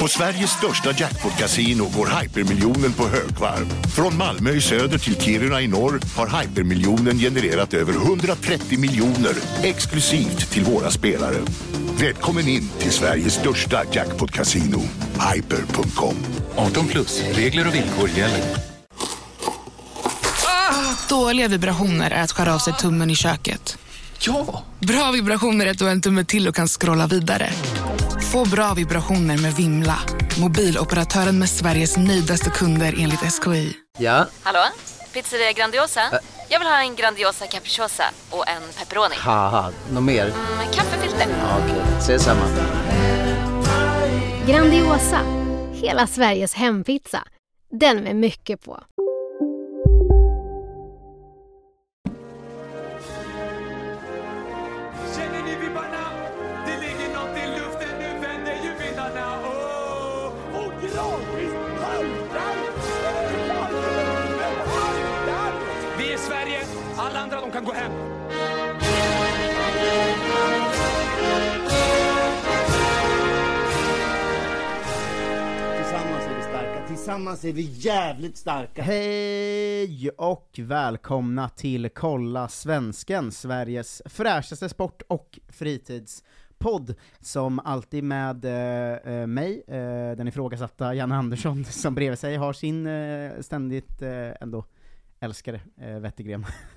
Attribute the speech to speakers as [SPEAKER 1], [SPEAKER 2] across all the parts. [SPEAKER 1] På Sveriges största jackpot-kasino går hypermiljonen på högvarv. Från Malmö i söder till Kiruna i norr har hypermiljonen genererat över 130 miljoner exklusivt till våra spelare. Välkommen in till Sveriges största jackpot-kasino, hyper.com.
[SPEAKER 2] 18 plus, regler och villkor gäller.
[SPEAKER 3] Dåliga vibrationer är att skära av sig tummen i köket.
[SPEAKER 2] Ja!
[SPEAKER 3] Bra vibrationer är att du har en tumme till och kan scrolla vidare. Få bra vibrationer med Vimla. Mobiloperatören med Sveriges nöjdaste kunder enligt SKI.
[SPEAKER 4] Ja,
[SPEAKER 5] Hallå? Pizzeria Grandiosa? Jag vill ha en Grandiosa capriciosa och en pepperoni.
[SPEAKER 4] haha, något mer?
[SPEAKER 5] Med kaffefilter.
[SPEAKER 4] Ja, Okej, ses samma.
[SPEAKER 6] Grandiosa, hela Sveriges hempizza. Den med mycket på.
[SPEAKER 7] Känner ni vibbarna? Det ligger något i luften, nu vänder ju vindarna Åh, och Granqvist haltar! Vi är Sverige, alla andra de kan gå hem.
[SPEAKER 8] Tillsammans är vi starka, tillsammans är vi jävligt starka!
[SPEAKER 9] Hej och välkomna till Kolla Svensken, Sveriges fräschaste sport och fritidspodd. Som alltid med eh, eh, mig, eh, den ifrågasatta Janne Andersson, som bredvid sig har sin eh, ständigt eh, ändå älskare, eh, Wettergren.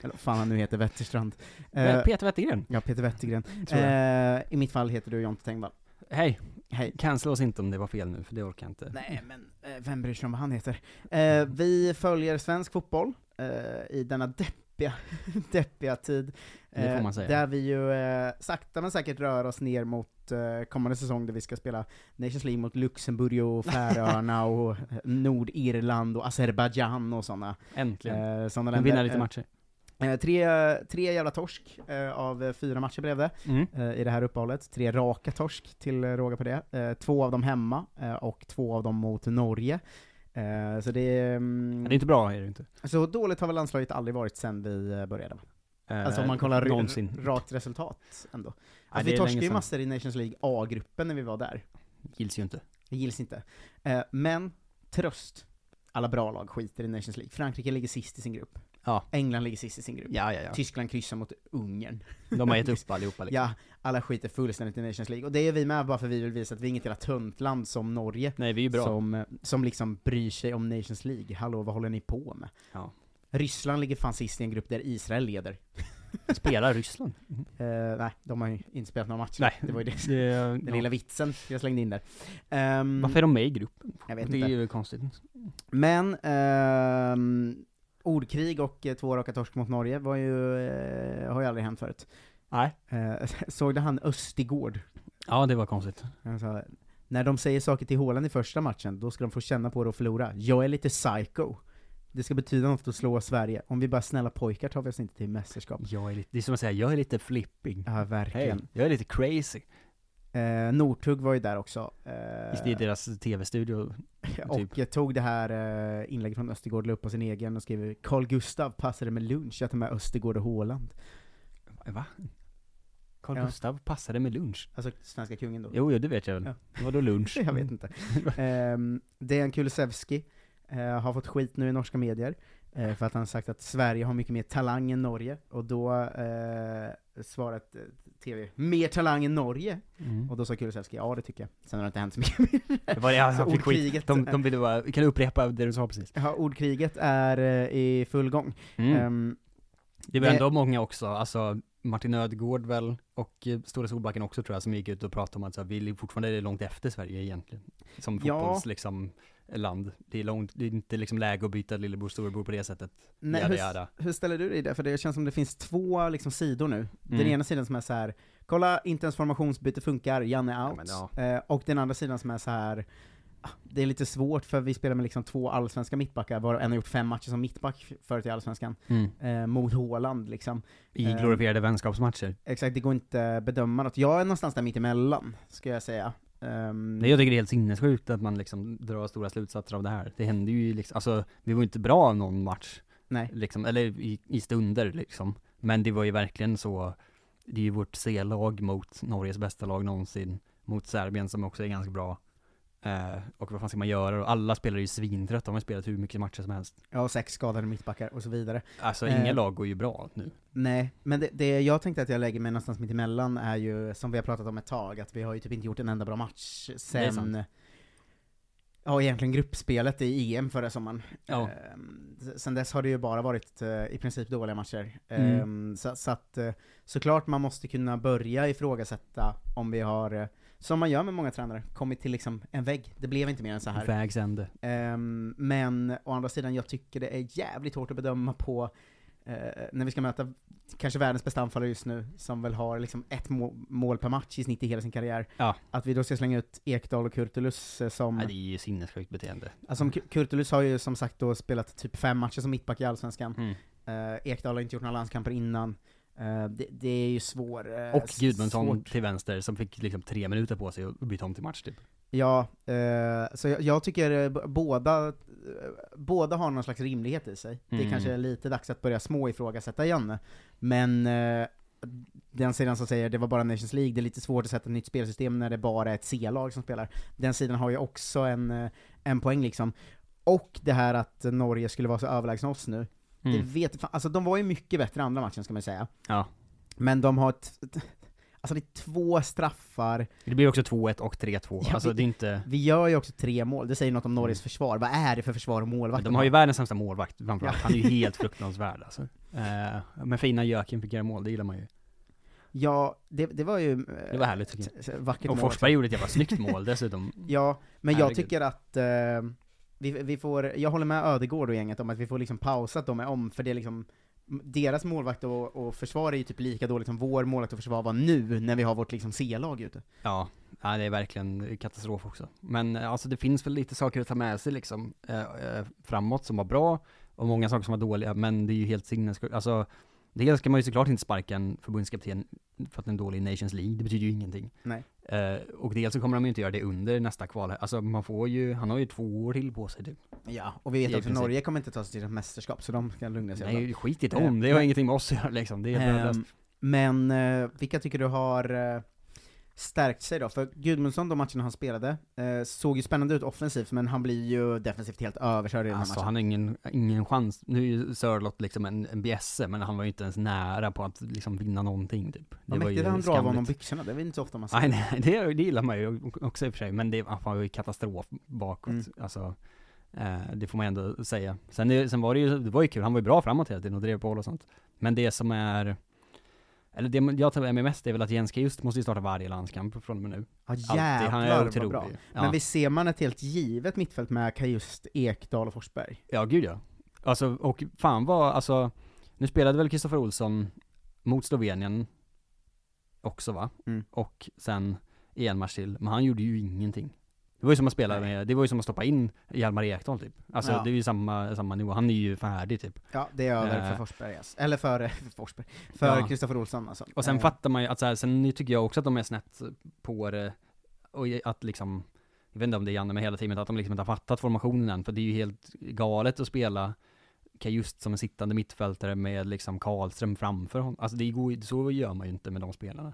[SPEAKER 9] Eller vad fan han nu heter, Wetterstrand. Eh,
[SPEAKER 10] Peter Wettergren,
[SPEAKER 9] ja, Peter Wettergren.
[SPEAKER 10] tror jag.
[SPEAKER 9] Eh, I mitt fall heter du Jonte Tengvall.
[SPEAKER 10] Hej.
[SPEAKER 9] Hej.
[SPEAKER 10] Cancella oss inte om det var fel nu, för det orkar jag inte. Mm.
[SPEAKER 9] Nej men, eh, vem bryr sig om vad han heter? Eh, vi följer svensk fotboll eh, i denna deppiga, deppiga tid.
[SPEAKER 10] Det får
[SPEAKER 9] Eh,
[SPEAKER 10] man säga.
[SPEAKER 9] Där vi ju eh, sakta men säkert rör oss ner mot eh, kommande säsong där vi ska spela Nations League mot Luxemburg och Färöarna och eh, Nordirland och Azerbajdzjan och sådana.
[SPEAKER 10] Äntligen.
[SPEAKER 9] Eh, såna
[SPEAKER 10] Men vinna lite
[SPEAKER 9] Eh,
[SPEAKER 10] matcher.
[SPEAKER 9] Eh, tre, tre jävla torsk eh, av eh, fyra matcher blev det
[SPEAKER 10] Mm.
[SPEAKER 9] eh, i det här uppehållet. Tre raka torsk till eh, råga på det. Eh, två av dem hemma eh, och två av dem mot Norge. Eh, så det är...
[SPEAKER 10] Det
[SPEAKER 9] Mm,
[SPEAKER 10] är inte bra, är det inte.
[SPEAKER 9] Så dåligt har väl landslaget aldrig varit sen vi eh, började. va?
[SPEAKER 10] Eh,
[SPEAKER 9] Alltså om man kollar
[SPEAKER 10] Någonsin.
[SPEAKER 9] r- rakt resultat ändå.
[SPEAKER 10] Nej,
[SPEAKER 9] Alltså,
[SPEAKER 10] det
[SPEAKER 9] vi
[SPEAKER 10] är
[SPEAKER 9] torskade
[SPEAKER 10] länge
[SPEAKER 9] ju
[SPEAKER 10] sedan.
[SPEAKER 9] massor i Nations League A-gruppen när vi var där.
[SPEAKER 10] Gills ju inte.
[SPEAKER 9] Det gills inte. Eh, men, tröst. Alla bra lag skiter i Nations League. Frankrike ligger sist i sin grupp.
[SPEAKER 10] Ja.
[SPEAKER 9] England ligger sist i sin grupp.
[SPEAKER 10] Ja, ja, ja.
[SPEAKER 9] Tyskland kryssar mot Ungern.
[SPEAKER 10] De har gett upp allihopa liksom.
[SPEAKER 9] Ja, alla skiter fullständigt i Nations League. Och det är vi med bara för vi vill visa att vi är inget jävla töntland som Norge.
[SPEAKER 10] Nej, vi är ju bra.
[SPEAKER 9] Som, eh, som liksom bryr sig om Nations League. Hallå, vad håller ni på med?
[SPEAKER 10] Ja.
[SPEAKER 9] Ryssland ligger fan sist i en grupp där Israel leder.
[SPEAKER 10] Spelar Ryssland.
[SPEAKER 9] Eh, nej, de har ju inte spelat några matcher.
[SPEAKER 10] Nej.
[SPEAKER 9] Det var ju det,
[SPEAKER 10] Det, ja.
[SPEAKER 9] den lilla vitsen jag slängde in där. Ehm,
[SPEAKER 10] Varför är de med i gruppen?
[SPEAKER 9] Jag vet
[SPEAKER 10] det är
[SPEAKER 9] inte.
[SPEAKER 10] ju konstigt.
[SPEAKER 9] Men, ehm, ordkrig och eh, två raka torsk mot Norge var ju, eh, har ju aldrig hänt förut.
[SPEAKER 10] Nej.
[SPEAKER 9] Eh, såg du han Östigård?
[SPEAKER 10] Ja, det var konstigt.
[SPEAKER 9] Han sa, när de säger saker till Haaland i första matchen, då ska de få känna på det och förlora. Jag är lite psycho. Det ska betyda något att slå Sverige. Om vi bara är snälla pojkar tar vi oss inte till mästerskap.
[SPEAKER 10] Jag är lite, det är som att säga, jag är lite flippig.
[SPEAKER 9] Ja,
[SPEAKER 10] Hej.
[SPEAKER 9] verkligen.
[SPEAKER 10] Jag är lite crazy.
[SPEAKER 9] Eh, Northug var ju där också. eh,
[SPEAKER 10] Visst, det är deras tv-studio. typ.
[SPEAKER 9] och jag tog det här eh, inlägget från Östergård, la upp på sin egen och skrev Carl Gustav passade med lunch, jag tar med Östergård och Haaland.
[SPEAKER 10] Eh, Va? Carl
[SPEAKER 9] Ja.
[SPEAKER 10] Gustav passade med lunch.
[SPEAKER 9] Alltså svenska kungen då.
[SPEAKER 10] Jo, jo, det vet jag väl.
[SPEAKER 9] Ja.
[SPEAKER 10] Vadå lunch?
[SPEAKER 9] Jag vet inte. Ehm, Dejan Kulusevski eh, har fått skit nu i norska medier eh, för att han sagt att Sverige har mycket mer talang än Norge, och då eh, svarat eh, TV ”Mer talang än Norge?”
[SPEAKER 10] Mm.
[SPEAKER 9] och då sa Kulusevski ”Ja, det tycker jag”. Sen har det inte hänt så mycket mer.
[SPEAKER 10] Det var det han
[SPEAKER 9] Så
[SPEAKER 10] fick
[SPEAKER 9] ordkriget
[SPEAKER 10] skit. De,
[SPEAKER 9] är-
[SPEAKER 10] de ville bara, kan du upprepa det du sa precis? Mm.
[SPEAKER 9] Ja, ordkriget är eh, i full gång. Ehm,
[SPEAKER 10] det var
[SPEAKER 9] det-
[SPEAKER 10] ändå många också, alltså Martin Ödgård väl, och eh, Stora Solbacken också tror jag, som gick ut och pratade om att så här, vi ligger fortfarande långt efter Sverige egentligen. Som
[SPEAKER 9] Ja.
[SPEAKER 10] fotbolls, liksom, land. Det är, långt, det är inte liksom läge att byta lillebror storebror på det sättet.
[SPEAKER 9] nej,
[SPEAKER 10] Jada,
[SPEAKER 9] hur,
[SPEAKER 10] jada.
[SPEAKER 9] hur ställer du dig där? För det känns som det finns två liksom, sidor nu. Den
[SPEAKER 10] Mm.
[SPEAKER 9] ena sidan som är så här. kolla inte ens formationsbyte funkar, Janne är out.
[SPEAKER 10] Ja,
[SPEAKER 9] Eh, och den andra sidan som är så här. ah, det är lite svårt för vi spelar med liksom två allsvenska mittbackar, varav en har gjort fem matcher som mittback förut i allsvenskan, eh, mot Haaland liksom.
[SPEAKER 10] Mm. I
[SPEAKER 9] Ehm.
[SPEAKER 10] glorifierade vänskapsmatcher.
[SPEAKER 9] Exakt, det går inte bedöma något. Jag är någonstans där mittemellan, ska jag säga. Ehm,
[SPEAKER 10] Nej, jag tycker det är helt sinnessjukt att man liksom drar stora slutsatser av det här. Det hände ju liksom, alltså vi var ju inte bra av någon match,
[SPEAKER 9] nej.
[SPEAKER 10] liksom, eller i, i stunder liksom. Men det var ju verkligen så, det är ju vårt C-lag mot Norges bästa lag någonsin.
[SPEAKER 9] mot Serbien som också är ganska bra. Eh, och vad fan ska man göra då? Alla spelare är ju svintrötta, de har ju spelat hur mycket matcher som helst.
[SPEAKER 4] Ja, och sex skadade mittbackar och så vidare.
[SPEAKER 9] Alltså
[SPEAKER 4] Eh.
[SPEAKER 9] inga lag går ju bra nu.
[SPEAKER 4] Nej, men det, det jag tänkte att jag lägger mig någonstans mitt emellan är ju, som vi har pratat om ett tag, att vi har ju typ inte gjort en enda bra match
[SPEAKER 9] är
[SPEAKER 4] sen, eh,
[SPEAKER 9] sant.
[SPEAKER 4] ja egentligen gruppspelet i EM förra sommaren.
[SPEAKER 9] Ja.
[SPEAKER 4] Ehm, s- sen dess har det ju bara varit eh, i princip dåliga matcher.
[SPEAKER 9] Mm.
[SPEAKER 4] Ehm, så, så att eh, såklart man måste kunna börja ifrågasätta om vi har, eh, som man gör med många tränare, kommit till liksom en vägg. Det blev inte mer än så här.
[SPEAKER 9] Vägs ände.
[SPEAKER 4] Ehm, men å andra sidan, jag tycker det är jävligt hårt att bedöma på eh, när vi ska möta kanske världens bästa anfallare just nu, som väl har liksom ett må- mål per match i snitt i hela sin karriär.
[SPEAKER 9] Ja.
[SPEAKER 4] Att vi då ska slänga ut Ekdal och Kurtulus eh, som...
[SPEAKER 9] Nej, det är ju sinnessjukt beteende.
[SPEAKER 4] alltså, om Ku- Kurtulus har ju som sagt då spelat typ fem matcher som mittback i Allsvenskan.
[SPEAKER 9] Mm.
[SPEAKER 4] Eh, Ekdal har inte gjort några landskamper innan. Eh, det, det är ju svår... eh,
[SPEAKER 9] Och Gudmundsson
[SPEAKER 4] svårt.
[SPEAKER 9] till vänster som fick liksom tre minuter på sig att byta om till match typ.
[SPEAKER 4] Ja, eh, så jag, jag tycker eh, b- båda, eh, båda har någon slags rimlighet i sig. Det
[SPEAKER 9] Mm.
[SPEAKER 4] kanske är lite dags att börja små ifrågasätta igen. Men eh, den sidan som säger det var bara Nations League, det är lite svårt att sätta ett nytt spelsystem när det bara är ett C-lag som spelar. Den sidan har ju också en, eh, en poäng liksom. Och det här att Norge skulle vara så överlägsna oss nu. Det
[SPEAKER 9] Mm.
[SPEAKER 4] vet fan, alltså de var ju mycket bättre andra matchen ska man ju säga.
[SPEAKER 9] Ja.
[SPEAKER 4] Men de har ett, alltså det är två straffar,
[SPEAKER 9] Det blir också 2-1 och 3-2.
[SPEAKER 4] Ja,
[SPEAKER 9] alltså
[SPEAKER 4] vi-
[SPEAKER 9] det är inte...
[SPEAKER 4] vi gör ju också tre mål, det säger något om Norges försvar. Vad är det för försvar och målvakt
[SPEAKER 9] Mm. De har ju världens sämsta målvakt framförallt. Han är ju helt fruktansvärd alltså. Eh, men fina Jöken fick göra mål, det gillar man ju.
[SPEAKER 4] Ja, det, det var ju... eh,
[SPEAKER 9] Det var härligt tycker jag.
[SPEAKER 4] ett Vackert
[SPEAKER 9] Och
[SPEAKER 4] mål.
[SPEAKER 9] Forsberg gjorde ett jävla snyggt mål dessutom.
[SPEAKER 4] Ja, men jag
[SPEAKER 9] Herregud.
[SPEAKER 4] tycker att eh, vi, vi får, jag håller med Ödegård och gänget om att vi får liksom pausa att de är om, för det är liksom deras målvakt och, och försvar är ju typ lika dåligt som vår målvakt och försvar var nu, när vi har vårt liksom C-lag ute.
[SPEAKER 9] Ja, ja, det är verkligen katastrof också. Men eh, alltså det finns väl lite saker att ta med sig liksom eh, eh, framåt som var bra och många saker som var dåliga, men det är ju helt sinnessjukt. Alltså, dels ska man ju såklart inte sparka en förbundskapten för att den är dålig i Nations League, det betyder ju ingenting.
[SPEAKER 4] Nej.
[SPEAKER 9] Eh, och dels så kommer de ju inte göra det under nästa kval. Alltså man får ju, han har ju två år till på sig typ.
[SPEAKER 4] Ja, och vi vet
[SPEAKER 9] I
[SPEAKER 4] också att
[SPEAKER 9] princip.
[SPEAKER 4] Norge kommer inte ta sig till ett mästerskap, så de kan lugna sig. ett tag.
[SPEAKER 9] Nej, skit i dem, det har ingenting med oss att göra liksom. Det är helt värdelöst.
[SPEAKER 4] Ehm, men eh, vilka tycker du har eh, stärkt sig då? För Gudmundsson, de matcherna han spelade, eh, såg ju spännande ut offensivt, men han blir ju defensivt helt överkörd i den här
[SPEAKER 9] Alltså
[SPEAKER 4] matchen.
[SPEAKER 9] han har ingen, ingen chans. Nu är ju Sörlott liksom en, en bjässe, men han var ju inte ens nära på att liksom vinna någonting typ.
[SPEAKER 4] Vad
[SPEAKER 9] var ju
[SPEAKER 4] mäktigt han drar av honom
[SPEAKER 9] skamligt.
[SPEAKER 4] byxorna, det är väl inte så ofta man ser.
[SPEAKER 9] Nej, nej det, det gillar man ju också i och för sig, men det han var ju katastrof bakåt.
[SPEAKER 4] Mm.
[SPEAKER 9] Alltså, eh, det får man ändå säga. Sen, är- sen var det ju, det var ju kul, han var ju bra framåt hela tiden och drev på och sånt. Men det som är, eller det jag tar med mig mest är väl att Jens Kajust måste ju starta varje landskamp från och med nu.
[SPEAKER 4] Ja
[SPEAKER 9] Alltid.
[SPEAKER 4] jävlar
[SPEAKER 9] Han är
[SPEAKER 4] vad
[SPEAKER 9] otrolig.
[SPEAKER 4] bra.
[SPEAKER 9] Ja.
[SPEAKER 4] Men vi ser man ett helt givet mittfält med Kajust, Ekdal och Forsberg?
[SPEAKER 9] Ja, gud ja. Alltså, och fan vad, alltså, nu spelade väl Kristoffer Olsson mot Slovenien också va?
[SPEAKER 4] Mm.
[SPEAKER 9] Och sen i en match till, men han gjorde ju ingenting. Det var ju som att spela
[SPEAKER 4] Nej.
[SPEAKER 9] med, det var ju som att stoppa in Hjalmar Ekdal typ. Alltså
[SPEAKER 4] Ja.
[SPEAKER 9] det är ju samma, samma nivå, han är ju färdig typ.
[SPEAKER 4] Ja, det är över
[SPEAKER 9] Eh.
[SPEAKER 4] för Forsberg yes. Eller för, för Forsberg. För
[SPEAKER 9] Ja.
[SPEAKER 4] Kristoffer Olsson alltså.
[SPEAKER 9] Och sen
[SPEAKER 4] Eh,
[SPEAKER 9] fattar man ju att så här, sen tycker jag också att de är snett på det, och i- att liksom, jag vet inte om det är Janne med hela teamet, att de liksom inte har fattat formationen än, för det är ju helt galet att spela Kajust som en sittande mittfältare med liksom Karlström framför honom. Alltså det går ju, så gör man ju inte med de spelarna.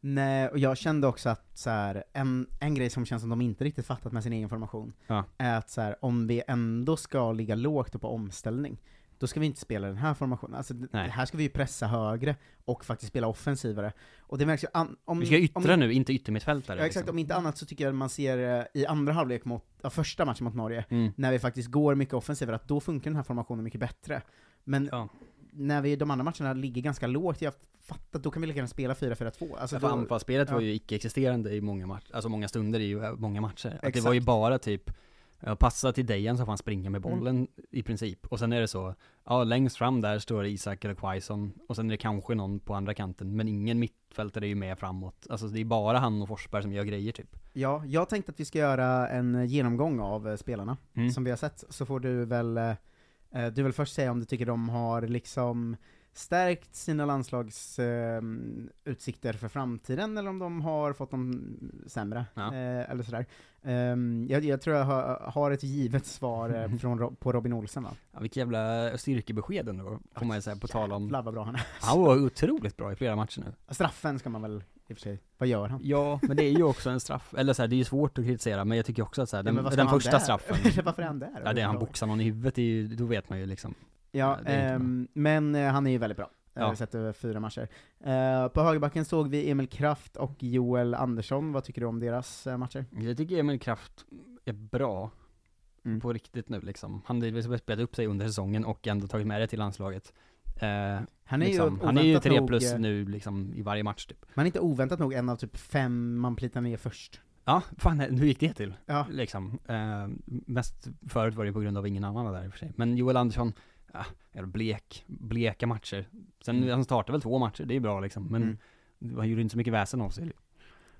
[SPEAKER 4] Nej, och jag kände också att så här, en, en grej som känns som de inte riktigt fattat med sin egen formation,
[SPEAKER 9] Ja.
[SPEAKER 4] är att så här, om vi ändå ska ligga lågt och på omställning, då ska vi inte spela den här formationen. Alltså, d-
[SPEAKER 9] Nej.
[SPEAKER 4] här ska vi ju pressa högre och faktiskt spela offensivare. Och det märks ju... an- Om,
[SPEAKER 9] Vi ska
[SPEAKER 4] om,
[SPEAKER 9] yttra nu, inte yttermittfältare.
[SPEAKER 4] Ja, exakt.
[SPEAKER 9] liksom.
[SPEAKER 4] Om inte annat så tycker jag man ser eh, i andra halvlek mot, ja, första matchen mot Norge,
[SPEAKER 9] Mm.
[SPEAKER 4] när vi faktiskt går mycket offensivare, att då funkar den här formationen mycket bättre. Men
[SPEAKER 9] Ja.
[SPEAKER 4] när vi i de andra matcherna ligger ganska lågt, jag fattar, då kan vi lika gärna spela 4-4-2. Alltså,
[SPEAKER 9] för
[SPEAKER 4] då-
[SPEAKER 9] anfallsspelet var
[SPEAKER 4] ja.
[SPEAKER 9] ju icke-existerande i många matcher, alltså många stunder i eh, många matcher. Att det
[SPEAKER 4] Exakt.
[SPEAKER 9] var ju bara typ, eh, passa till Dejan så får han springa med
[SPEAKER 4] Mm.
[SPEAKER 9] bollen i princip. Och sen är det så, ja längst fram där står det Isak eller Quaison, och sen är det kanske någon på andra kanten, men ingen mittfältare är ju med framåt. Alltså det är bara han och Forsberg som gör grejer typ.
[SPEAKER 4] Ja, jag tänkte att vi ska göra en genomgång av eh, spelarna
[SPEAKER 9] Mm.
[SPEAKER 4] som vi har sett, så får du väl, eh, eh, du vill först säga om du tycker de har liksom stärkt sina landslagsutsikter för framtiden eller om de har fått dem sämre.
[SPEAKER 9] Ja.
[SPEAKER 4] Eh, eller sådär. Ehm, jag, jag tror jag har, har ett givet svar eh, från, Ro- på Robin Olsen va?
[SPEAKER 9] Ja, vilka jävla styrkebesked ändå, får man ju säga, på tal om.
[SPEAKER 4] Jävlar vad bra han är.
[SPEAKER 9] Han var otroligt bra i flera matcher nu.
[SPEAKER 4] Straffen ska man väl i och för sig. Vad gör han?
[SPEAKER 9] Ja, men det är ju också en straff. Eller så här, det är ju svårt att kritisera, men jag tycker också att så här,
[SPEAKER 4] Ja,
[SPEAKER 9] den,
[SPEAKER 4] men vad ska
[SPEAKER 9] den
[SPEAKER 4] han
[SPEAKER 9] första
[SPEAKER 4] där?
[SPEAKER 9] straffen,
[SPEAKER 4] Varför är han där?
[SPEAKER 9] ja, det är han boxar någon i huvudet, det är ju, då vet man ju liksom.
[SPEAKER 4] Ja,
[SPEAKER 9] det är inte
[SPEAKER 4] ehm, men eh, han är ju väldigt bra. Jag har
[SPEAKER 9] Ja.
[SPEAKER 4] sett över fyra matcher. Eh, på högerbacken såg vi Emil Kraft och Joel Andersson, vad tycker du om deras eh, matcher?
[SPEAKER 9] Jag tycker Emil Kraft är bra
[SPEAKER 4] Mm.
[SPEAKER 9] på riktigt nu liksom. Han har ju spelat upp sig under säsongen och ändå tagit med det till landslaget. Eh,
[SPEAKER 4] Han är
[SPEAKER 9] liksom,
[SPEAKER 4] ju,
[SPEAKER 9] han är ju
[SPEAKER 4] oväntat
[SPEAKER 9] 3
[SPEAKER 4] nog,
[SPEAKER 9] plus
[SPEAKER 4] eh,
[SPEAKER 9] nu liksom i varje match typ.
[SPEAKER 4] Man är inte oväntat nog en av typ fem man plitar ner först.
[SPEAKER 9] Ja, fan hur gick det till?
[SPEAKER 4] Ja.
[SPEAKER 9] Liksom, eh, mest förut var det på grund av ingen annan var där i och för sig. Men Joel Andersson, ja, jävla blek, bleka matcher. Sen,
[SPEAKER 4] Mm.
[SPEAKER 9] han startade väl två matcher, det är bra liksom, men han gjorde inte så mycket väsen av sig.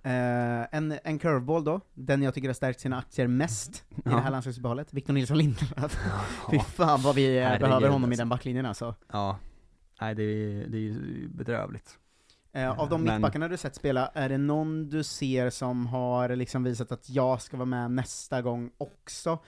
[SPEAKER 4] Eh, en, en curveball då, den jag tycker har stärkt sina aktier mest i
[SPEAKER 9] Ja.
[SPEAKER 4] det här landslagsuppehållet, Victor Nilsson Lindelöf. Fy fan vad vi eh,
[SPEAKER 9] Herregud,
[SPEAKER 4] behöver honom i
[SPEAKER 9] alltså.
[SPEAKER 4] den backlinjen alltså.
[SPEAKER 9] Ja. Nej, det är, det är ju bedrövligt.
[SPEAKER 4] Eh, av de
[SPEAKER 9] Men-
[SPEAKER 4] mittbackarna du sett spela, är det någon du ser som har liksom visat att jag ska vara med nästa gång också?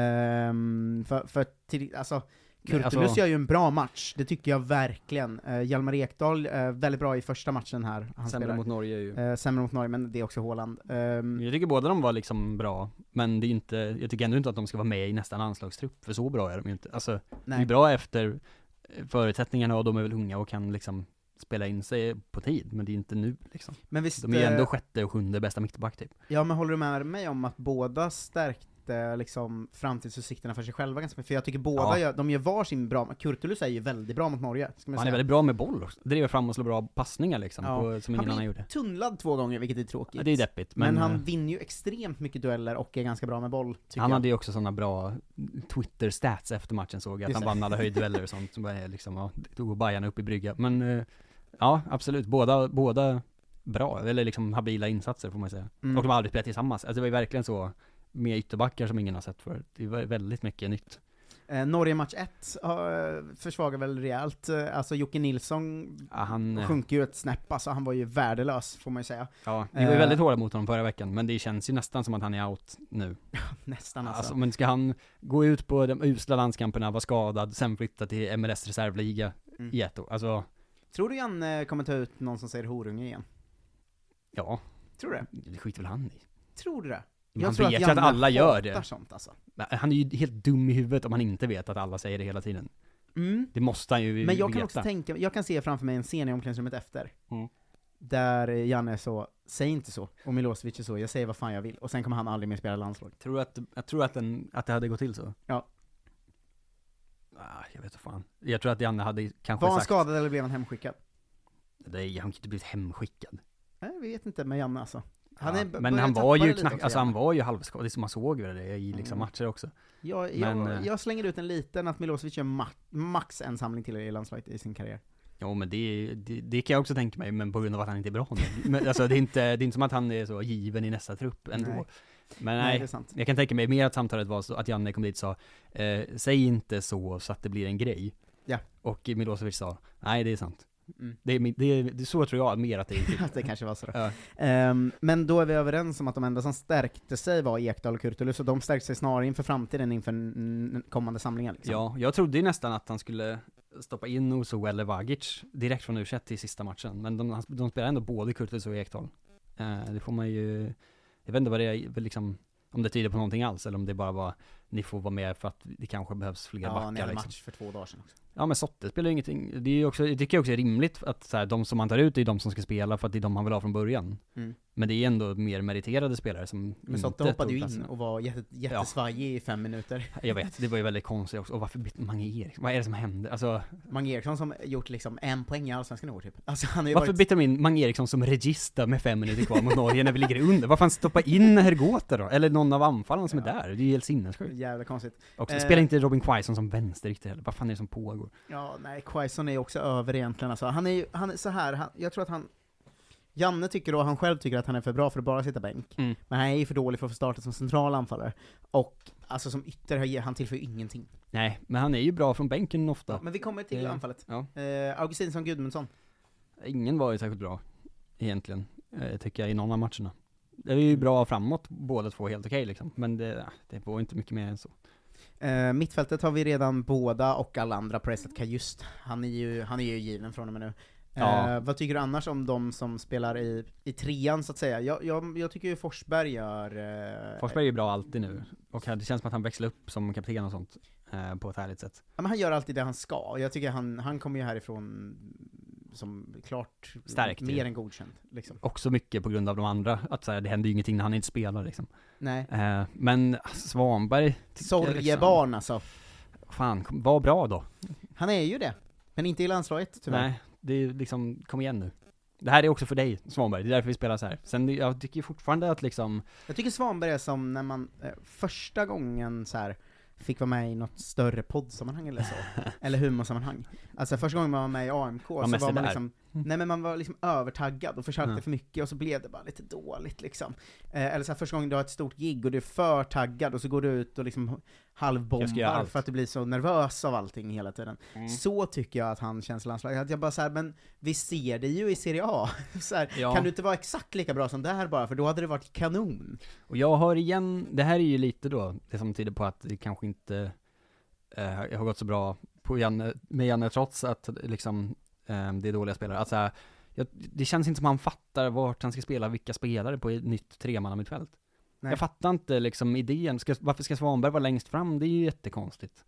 [SPEAKER 4] Ehm, för, för till, alltså, Kurtulus
[SPEAKER 9] alltså-
[SPEAKER 4] gör ju en bra match, det tycker jag verkligen. Eh, Hjalmar Ekdal, eh, väldigt bra i första matchen här, han
[SPEAKER 9] Sämre
[SPEAKER 4] spelar.
[SPEAKER 9] mot Norge är ju.
[SPEAKER 4] Eh, sämre mot Norge, men det är också Haaland. Ehm,
[SPEAKER 9] Jag tycker båda de var liksom bra, men det är inte, jag tycker ändå inte att de ska vara med i nästa landslagstrupp, för så bra är de ju inte. Alltså, de
[SPEAKER 4] nej.
[SPEAKER 9] är bra efter eh, förutsättningarna och de är väl unga och kan liksom spela in sig på tid, men det är inte nu liksom.
[SPEAKER 4] Men visst,
[SPEAKER 9] De är ju
[SPEAKER 4] eh,
[SPEAKER 9] ändå sjätte och sjunde bästa mittback typ.
[SPEAKER 4] Ja men håller du med mig om att båda stärkte liksom framtidsutsikterna för sig själva ganska mycket? För jag tycker båda,
[SPEAKER 9] Ja.
[SPEAKER 4] gör, de gör varsin bra, Kurtulus är ju väldigt bra mot Norge, ska man
[SPEAKER 9] Han är
[SPEAKER 4] säga.
[SPEAKER 9] väldigt bra med boll också, driver fram och slår bra passningar liksom,
[SPEAKER 4] Ja.
[SPEAKER 9] på,
[SPEAKER 4] han
[SPEAKER 9] som ingen
[SPEAKER 4] blir
[SPEAKER 9] annan gjorde.
[SPEAKER 4] tunnlad två gånger, vilket är tråkigt.
[SPEAKER 9] Ja, det är deppigt,
[SPEAKER 4] men,
[SPEAKER 9] men,
[SPEAKER 4] han
[SPEAKER 9] eh,
[SPEAKER 4] vinner ju extremt mycket dueller och är ganska bra med boll, tycker
[SPEAKER 9] han
[SPEAKER 4] jag.
[SPEAKER 9] hade ju också sådana bra Twitter-stats efter matchen såg jag, att
[SPEAKER 4] Just
[SPEAKER 9] han
[SPEAKER 4] det.
[SPEAKER 9] vann alla höjddueller och sånt, som bara är liksom, ja, då går Bajarna upp i brygga. Men eh, ja, absolut, båda, båda bra, eller liksom habila insatser får man säga.
[SPEAKER 4] Mm.
[SPEAKER 9] Och de har aldrig spelat tillsammans, alltså det var ju verkligen så med ytterbackar som ingen har sett förut. Det var väldigt mycket nytt.
[SPEAKER 4] Eh, Norge match 1 försvagar väl rejält, Eh, alltså Jocke Nilsson
[SPEAKER 9] Ja, han, eh,
[SPEAKER 4] sjunker ju ett snäpp, alltså han var ju värdelös, får man ju säga.
[SPEAKER 9] ja, vi var ju
[SPEAKER 4] eh,
[SPEAKER 9] väldigt hårda mot honom förra veckan, men det känns ju nästan som att han är out nu.
[SPEAKER 4] Nästan alltså.
[SPEAKER 9] Alltså, men ska han gå ut på de usla landskamperna, vara skadad, sen flytta till MLS reservliga
[SPEAKER 4] Mm.
[SPEAKER 9] i ett år? Alltså,
[SPEAKER 4] Tror du Janne kommer ta ut någon som säger horunge igen?
[SPEAKER 9] ja,
[SPEAKER 4] Tror du det?
[SPEAKER 9] det skiter väl han i.
[SPEAKER 4] Tror du det?
[SPEAKER 9] Men han vet ju att alla gör det.
[SPEAKER 4] hatar sånt alltså.
[SPEAKER 9] Men eh, Han är ju helt dum i huvudet om han inte vet att alla säger det hela tiden.
[SPEAKER 4] Mm.
[SPEAKER 9] Det måste han ju
[SPEAKER 4] Men jag
[SPEAKER 9] veta.
[SPEAKER 4] kan också tänka, jag kan se framför mig en scen i omklädningsrummet efter,
[SPEAKER 9] Mm.
[SPEAKER 4] där Janne är så, säg inte så, och Milosevic är så, jag säger vad fan jag vill, och sen kommer han aldrig mer spela landslag.
[SPEAKER 9] Tror du att, jag tror att, den, att det hade gått till så?
[SPEAKER 4] Ja.
[SPEAKER 9] Ah, jag vet inte fan. Jag tror att Janne hade kanske
[SPEAKER 4] Var han
[SPEAKER 9] sagt...
[SPEAKER 4] skadad eller blev han hemskickad?
[SPEAKER 9] Nej, han kan inte blivit hemskickad.
[SPEAKER 4] Nej, vi vet inte med Janne alltså.
[SPEAKER 9] Ja,
[SPEAKER 4] är-
[SPEAKER 9] men
[SPEAKER 4] börjar
[SPEAKER 9] han
[SPEAKER 4] tappa
[SPEAKER 9] var
[SPEAKER 4] det
[SPEAKER 9] ju
[SPEAKER 4] lite
[SPEAKER 9] knack,
[SPEAKER 4] också,
[SPEAKER 9] alltså han
[SPEAKER 4] Janne.
[SPEAKER 9] var ju halvskadad, det är som man såg väl det i
[SPEAKER 4] Mm.
[SPEAKER 9] liksom matcher också.
[SPEAKER 4] Jag, jag,
[SPEAKER 9] men, eh,
[SPEAKER 4] jag slänger ut en liten att Milosevic gör ma- max en samling till i landslaget i sin karriär.
[SPEAKER 9] Jo men det, det, det kan jag också tänka mig, men på grund av att han inte är bra nu. Men, alltså det är inte, det är inte som att han är så given i nästa trupp ändå.
[SPEAKER 4] Nej.
[SPEAKER 9] Men
[SPEAKER 4] Nej,
[SPEAKER 9] nej,
[SPEAKER 4] det är sant.
[SPEAKER 9] Jag kan tänka mig mer att samtalet var så att Janne kom dit och sa eh, Säg inte så så att det blir en grej
[SPEAKER 4] Ja.
[SPEAKER 9] Och Milosevic sa Nej det är sant
[SPEAKER 4] Mm.
[SPEAKER 9] det är, min- det är, det är Så tror jag mer att det gick till
[SPEAKER 4] Att det kanske var så då.
[SPEAKER 9] Ja.
[SPEAKER 4] Ehm, men då är vi överens om att de enda som stärkte sig var Ekdal och Kurtulus, och de stärkte sig snarare inför framtiden, inför mm, kommande samlingar liksom.
[SPEAKER 9] Ja, jag trodde ju nästan att han skulle stoppa in Oso eller Vagic direkt från u till sista matchen Men de, han- de spelar ändå både Kurtulus och Ekdal eh, Det får man ju Jag vet inte vad det är liksom Om det tyder på någonting alls eller om det bara var Ni får vara med för att det kanske behövs fler
[SPEAKER 4] Ja,
[SPEAKER 9] backar
[SPEAKER 4] en jävla
[SPEAKER 9] liksom.
[SPEAKER 4] match för två dagar sedan också.
[SPEAKER 9] Ja men Sotte spelar ju ingenting, det är ju också, jag tycker också det är rimligt att så här, de som han tar ut är de som ska spela för att det är de han vill ha från början.
[SPEAKER 4] Mm.
[SPEAKER 9] Men det är ändå mer meriterade spelare som
[SPEAKER 4] Men Sotte
[SPEAKER 9] inte
[SPEAKER 4] hoppade
[SPEAKER 9] tog
[SPEAKER 4] ju in
[SPEAKER 9] platsen.
[SPEAKER 4] och var jätte, jättesvajig i fem minuter.
[SPEAKER 9] Jag vet, det var ju väldigt konstigt också. Och varför bytte Mange Eriksson? Vad är det som händer? Alltså,
[SPEAKER 4] Mange Eriksson som gjort liksom en poäng i Allsvenskan i år typ. Alltså han har ju
[SPEAKER 9] varför
[SPEAKER 4] varit...
[SPEAKER 9] bytte de in Mange Eriksson som regista med fem minuter kvar mot Norge när vi ligger under? Varför han stoppa in Hergota då? Eller någon av anfallarna som är där? Det är ju helt sinnessjukt.
[SPEAKER 4] Jävla konstigt.
[SPEAKER 9] Och
[SPEAKER 4] Eh.
[SPEAKER 9] spelar inte Robin Quaison som vänsterytter heller? Vad fan är det som pågår?
[SPEAKER 4] Ja, nej, Quaison är ju också över egentligen alltså. Han är ju, han är så här, han, jag tror att han... Janne tycker och han själv tycker att han är för bra för att bara sitta bänk.
[SPEAKER 9] Mm.
[SPEAKER 4] Men han är ju för dålig för att få starta som central anfallare. Och alltså som ytter, han tillför ju ingenting.
[SPEAKER 9] Nej, men han är ju bra från bänken ofta.
[SPEAKER 4] Men vi kommer till
[SPEAKER 9] Eh,
[SPEAKER 4] anfallet.
[SPEAKER 9] ja.
[SPEAKER 4] Eh, Augustinsson Gudmundsson.
[SPEAKER 9] Ingen var ju särskilt bra egentligen, eh, tycker jag, i någon av matcherna. Det är ju bra framåt, båda två helt okej liksom, men det, ah, det var inte mycket mer än så.
[SPEAKER 4] Eh, mittfältet har vi redan båda och alla andra på det sättet. Kajust, han är ju, han är ju given från och med nu.
[SPEAKER 9] Ja.
[SPEAKER 4] Eh, vad tycker du annars om de som spelar i, i trean så att säga? Jag, jag, jag tycker ju Forsberg gör... Eh,
[SPEAKER 9] Forsberg är ju bra alltid nu. Och här- det känns som att han växlar upp som kapten och sånt. Eh, på ett härligt sätt.
[SPEAKER 4] Ja, men han gör alltid det han ska, och jag tycker han, han kommer ju härifrån som klart
[SPEAKER 9] Stärkt ju.
[SPEAKER 4] mer än godkänd. Liksom.
[SPEAKER 9] Också mycket på grund av de andra. Att så här, det händer ju ingenting när han inte spelar liksom.
[SPEAKER 4] Nej.
[SPEAKER 9] Eh, men Svanberg. tycker jag
[SPEAKER 4] Sorgebarn alltså.
[SPEAKER 9] Liksom, fan, kom- var bra då.
[SPEAKER 4] Han är ju det. Men inte i landslaget tyvärr.
[SPEAKER 9] Nej, det är ju liksom, kom igen nu. Det här är också för dig, Svanberg. Det är därför vi spelar så här. Sen, jag tycker ju fortfarande att liksom,
[SPEAKER 4] Jag tycker Svanberg är som när man eh, första gången så här fick vara med i något större poddsammanhang eller så, eller humorsammanhang. Alltså första gången man var med i AMK
[SPEAKER 9] Var
[SPEAKER 4] så
[SPEAKER 9] mest
[SPEAKER 4] var
[SPEAKER 9] det
[SPEAKER 4] man
[SPEAKER 9] där.
[SPEAKER 4] liksom, nej men man var liksom övertaggad och försökte
[SPEAKER 9] Ja.
[SPEAKER 4] för mycket och så blev det bara lite dåligt liksom. Eh, eller så här, första gången du har ett stort gig och du är för taggad och så går du ut och liksom
[SPEAKER 9] Jag ska göra
[SPEAKER 4] halvbombar
[SPEAKER 9] allt. Mm.
[SPEAKER 4] för att du blir så nervös av allting hela tiden. Så tycker jag att han känns i landslaget, att jag bara så här, men vi ser dig ju i Serie A. så här,
[SPEAKER 9] Ja.
[SPEAKER 4] Kan du inte vara exakt lika bra som där bara, för då hade det varit kanon.
[SPEAKER 9] och jag hör igen, det här är ju lite då, det som tyder på att det kanske inte eh, har gått så bra på Janne, med Janne trots att liksom, eh, det är dåliga spelare. Att så här, jag, det känns inte som han fattar vart han ska spela, vilka spelare på ett nytt tremannamittfält.
[SPEAKER 4] Nej.
[SPEAKER 9] Jag fattar inte liksom idén, ska, varför ska Svanberg vara längst fram? Det är ju jättekonstigt.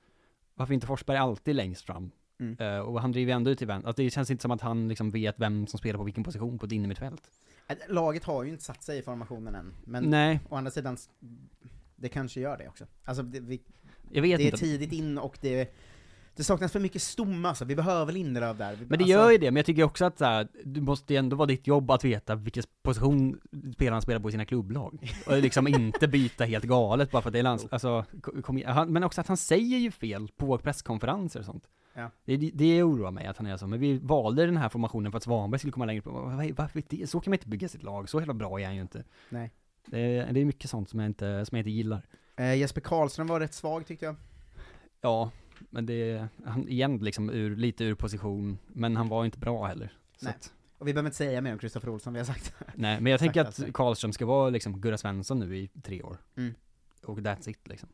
[SPEAKER 9] Varför inte Forsberg alltid längst fram?
[SPEAKER 4] Mm.
[SPEAKER 9] Eh, och han driver ju ändå ut i vän. Alltså, det känns inte som att han liksom vet vem som spelar på vilken position på ett innermittfält.
[SPEAKER 4] Äh, Laget har ju inte satt sig i formationen än, men
[SPEAKER 9] Nej,
[SPEAKER 4] å andra sidan, s- det kanske gör det också. Alltså, det, vi,
[SPEAKER 9] jag vet
[SPEAKER 4] det är
[SPEAKER 9] inte.
[SPEAKER 4] tidigt in och det, det saknas för mycket stomme alltså, vi behöver Lindelöf där. Vi,
[SPEAKER 9] Men det
[SPEAKER 4] alltså,
[SPEAKER 9] gör ju det, men jag tycker också att så här, du måste ju ändå vara ditt jobb att veta vilken position spelarna spelar på i sina klubblag. Och liksom inte byta helt galet bara för att det är landslag. Alltså, ko- kom, igen. han, men också att han säger ju fel på presskonferenser och sånt.
[SPEAKER 4] Ja.
[SPEAKER 9] Det, det oroar mig att han är så, men vi valde den här formationen för att Svanberg skulle komma längre på. Vad- Varför det? Så kan man inte bygga sitt lag, så jävla bra är han ju inte.
[SPEAKER 4] Nej.
[SPEAKER 9] Det, det är mycket sånt som jag inte, som jag inte gillar.
[SPEAKER 4] Eh, Jesper Karlström var rätt svag tyckte jag.
[SPEAKER 9] Ja, men det, han igen liksom ur, lite ur position, men han var inte bra heller. Så
[SPEAKER 4] Nej.
[SPEAKER 9] Att,
[SPEAKER 4] Och vi behöver inte säga mer om Kristoffer Olsson, vi har sagt.
[SPEAKER 9] Nej, men jag
[SPEAKER 4] Exakt,
[SPEAKER 9] tänker
[SPEAKER 4] alltså.
[SPEAKER 9] att Karlström ska vara liksom Gurra Svensson nu i tre år.
[SPEAKER 4] Mm.
[SPEAKER 9] Och that's it liksom.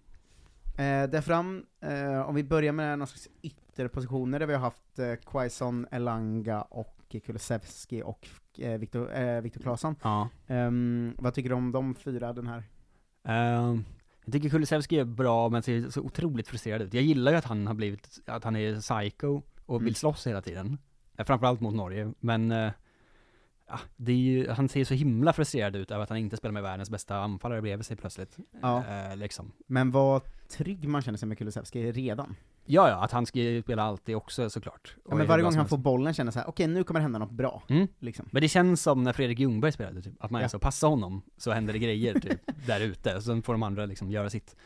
[SPEAKER 4] Eh, där fram, eh, om vi börjar med någon slags ytterpositioner där vi har haft eh, Quaison, Elanga och Kulusevski och eh, Viktor eh, Viktor Claesson.
[SPEAKER 9] Ja.
[SPEAKER 4] Ehm, vad tycker du om de fyra, den här?
[SPEAKER 9] Ehm, jag tycker Kulusevski är bra, men ser så otroligt frustrerad ut. Jag gillar ju att han har blivit, att han är psycho och
[SPEAKER 4] Mm.
[SPEAKER 9] vill slåss hela tiden. Eh, Framförallt mot Norge, men eh, ja, det är ju, han ser så himla frustrerad ut över att han inte spelar med världens bästa anfallare bredvid sig plötsligt.
[SPEAKER 4] Ja.
[SPEAKER 9] Eh, liksom.
[SPEAKER 4] Men vad trygg man känner sig med Kulusevski redan.
[SPEAKER 9] Ja, ja, att han ska ju spela alltid också såklart.
[SPEAKER 4] Ja,
[SPEAKER 9] Och är
[SPEAKER 4] men
[SPEAKER 9] hur
[SPEAKER 4] varje
[SPEAKER 9] bra
[SPEAKER 4] gång
[SPEAKER 9] som
[SPEAKER 4] han
[SPEAKER 9] helst.
[SPEAKER 4] får bollen känner så här, okej nu kommer det hända något bra.
[SPEAKER 9] Mm.
[SPEAKER 4] Liksom.
[SPEAKER 9] Men det känns som när Fredrik Ljungberg spelade, typ, att man
[SPEAKER 4] Ja.
[SPEAKER 9] är så, passa honom, så händer det grejer typ, där ute, sen får de andra liksom göra sitt.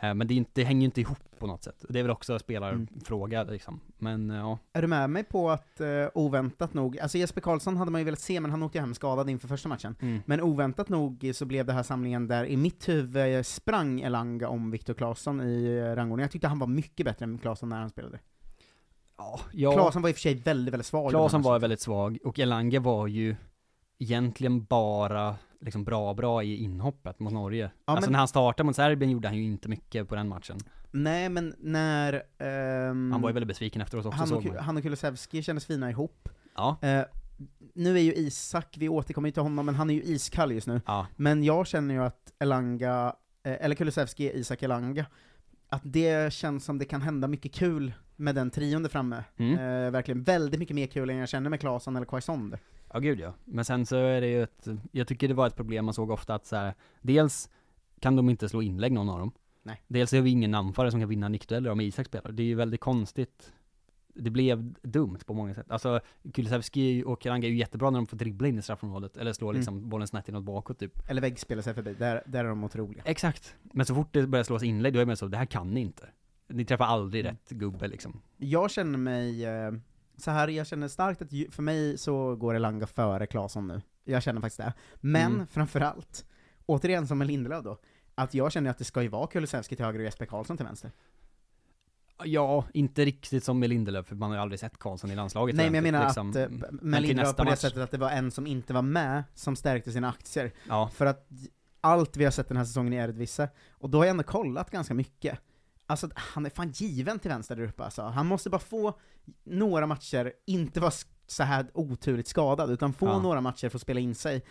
[SPEAKER 9] Eh, Men det, är inte, det hänger ju inte ihop på något sätt. Det är väl också spelarfråga
[SPEAKER 4] Mm.
[SPEAKER 9] liksom. Men eh, ja,
[SPEAKER 4] Är du med mig på att eh, oväntat nog, alltså Jesper Karlsson hade man ju velat se men han åkte ju hem skadad inför första matchen.
[SPEAKER 9] Mm.
[SPEAKER 4] Men oväntat nog så blev det här samlingen där i mitt huvud sprang Elanga om Viktor Claesson i eh, rangordningen. Jag tyckte han var mycket bättre än Claesson när han spelade.
[SPEAKER 9] ja, ja
[SPEAKER 4] Claesson var i och för sig väldigt, väldigt svag. i den här
[SPEAKER 9] Klasen var
[SPEAKER 4] matchen.
[SPEAKER 9] väldigt svag och Elanga var ju egentligen bara liksom bra, bra i inhoppet mot Norge. alltså
[SPEAKER 4] men-
[SPEAKER 9] när han startade mot Serbien gjorde han ju inte mycket på den matchen.
[SPEAKER 4] Nej men när... ehm,
[SPEAKER 9] Han var ju väldigt besviken efteråt också
[SPEAKER 4] han och,
[SPEAKER 9] såg
[SPEAKER 4] Ku-
[SPEAKER 9] man.
[SPEAKER 4] han och Kulusevski kändes fina ihop.
[SPEAKER 9] Ja,
[SPEAKER 4] Eh, nu är ju Isak, vi återkommer ju till honom, men han är ju iskall just nu.
[SPEAKER 9] ja.
[SPEAKER 4] Men jag känner ju att Elanga, eh, eller Kulusevski, Isak Elanga, att det känns som det kan hända mycket kul med den trion där framme.
[SPEAKER 9] Mm.
[SPEAKER 4] Eh, verkligen väldigt mycket mer kul än jag känner med Claesson eller Quaison.
[SPEAKER 9] Ja gud ja. Men sen så är det ju ett, jag tycker det var ett problem man såg ofta att så här, dels kan de inte slå inlägg någon av dem.
[SPEAKER 4] Nej.
[SPEAKER 9] Dels är vi ingen anfallare som kan vinna nickdueller om Isak spelar. Det är ju väldigt konstigt. Det blev dumt på många sätt. Alltså Kulusevski och Elanga är ju jättebra när de får dribbla in i straffområdet, eller slå
[SPEAKER 4] Mm.
[SPEAKER 9] liksom bollen snett inåt bakåt typ.
[SPEAKER 4] Eller väggspelar sig förbi, där, där är de otroliga.
[SPEAKER 9] Exakt. Men så fort det börjar slås inlägg, då är man så, det här kan ni inte. Ni träffar aldrig
[SPEAKER 4] Mm.
[SPEAKER 9] rätt gubbe liksom.
[SPEAKER 4] Jag känner mig, eh, så här, jag känner starkt att ju, för mig så går Elanga före Claesson nu. Jag känner faktiskt det. Men
[SPEAKER 9] Mm.
[SPEAKER 4] framförallt, återigen som med Lindelöf då, att jag känner att det ska ju vara Kulusevski till höger och Jesper Karlsson till vänster.
[SPEAKER 9] Ja, inte riktigt som med Lindelöf, för man har ju aldrig sett Karlsson i landslaget.
[SPEAKER 4] Nej men jag menar
[SPEAKER 9] liksom.
[SPEAKER 4] att eh, med
[SPEAKER 9] till
[SPEAKER 4] Lindelöf
[SPEAKER 9] nästa
[SPEAKER 4] på det
[SPEAKER 9] match.
[SPEAKER 4] sättet att det var en som inte var med som stärkte sina aktier.
[SPEAKER 9] Ja.
[SPEAKER 4] För att allt vi har sett den här säsongen i Eredivisie, och då har jag ändå kollat ganska mycket. Alltså han är fan given till vänster där uppe alltså. Han måste bara få några matcher, inte vara sk- så här oturligt skadad, utan få
[SPEAKER 9] Ja.
[SPEAKER 4] några matcher för att spela in sig,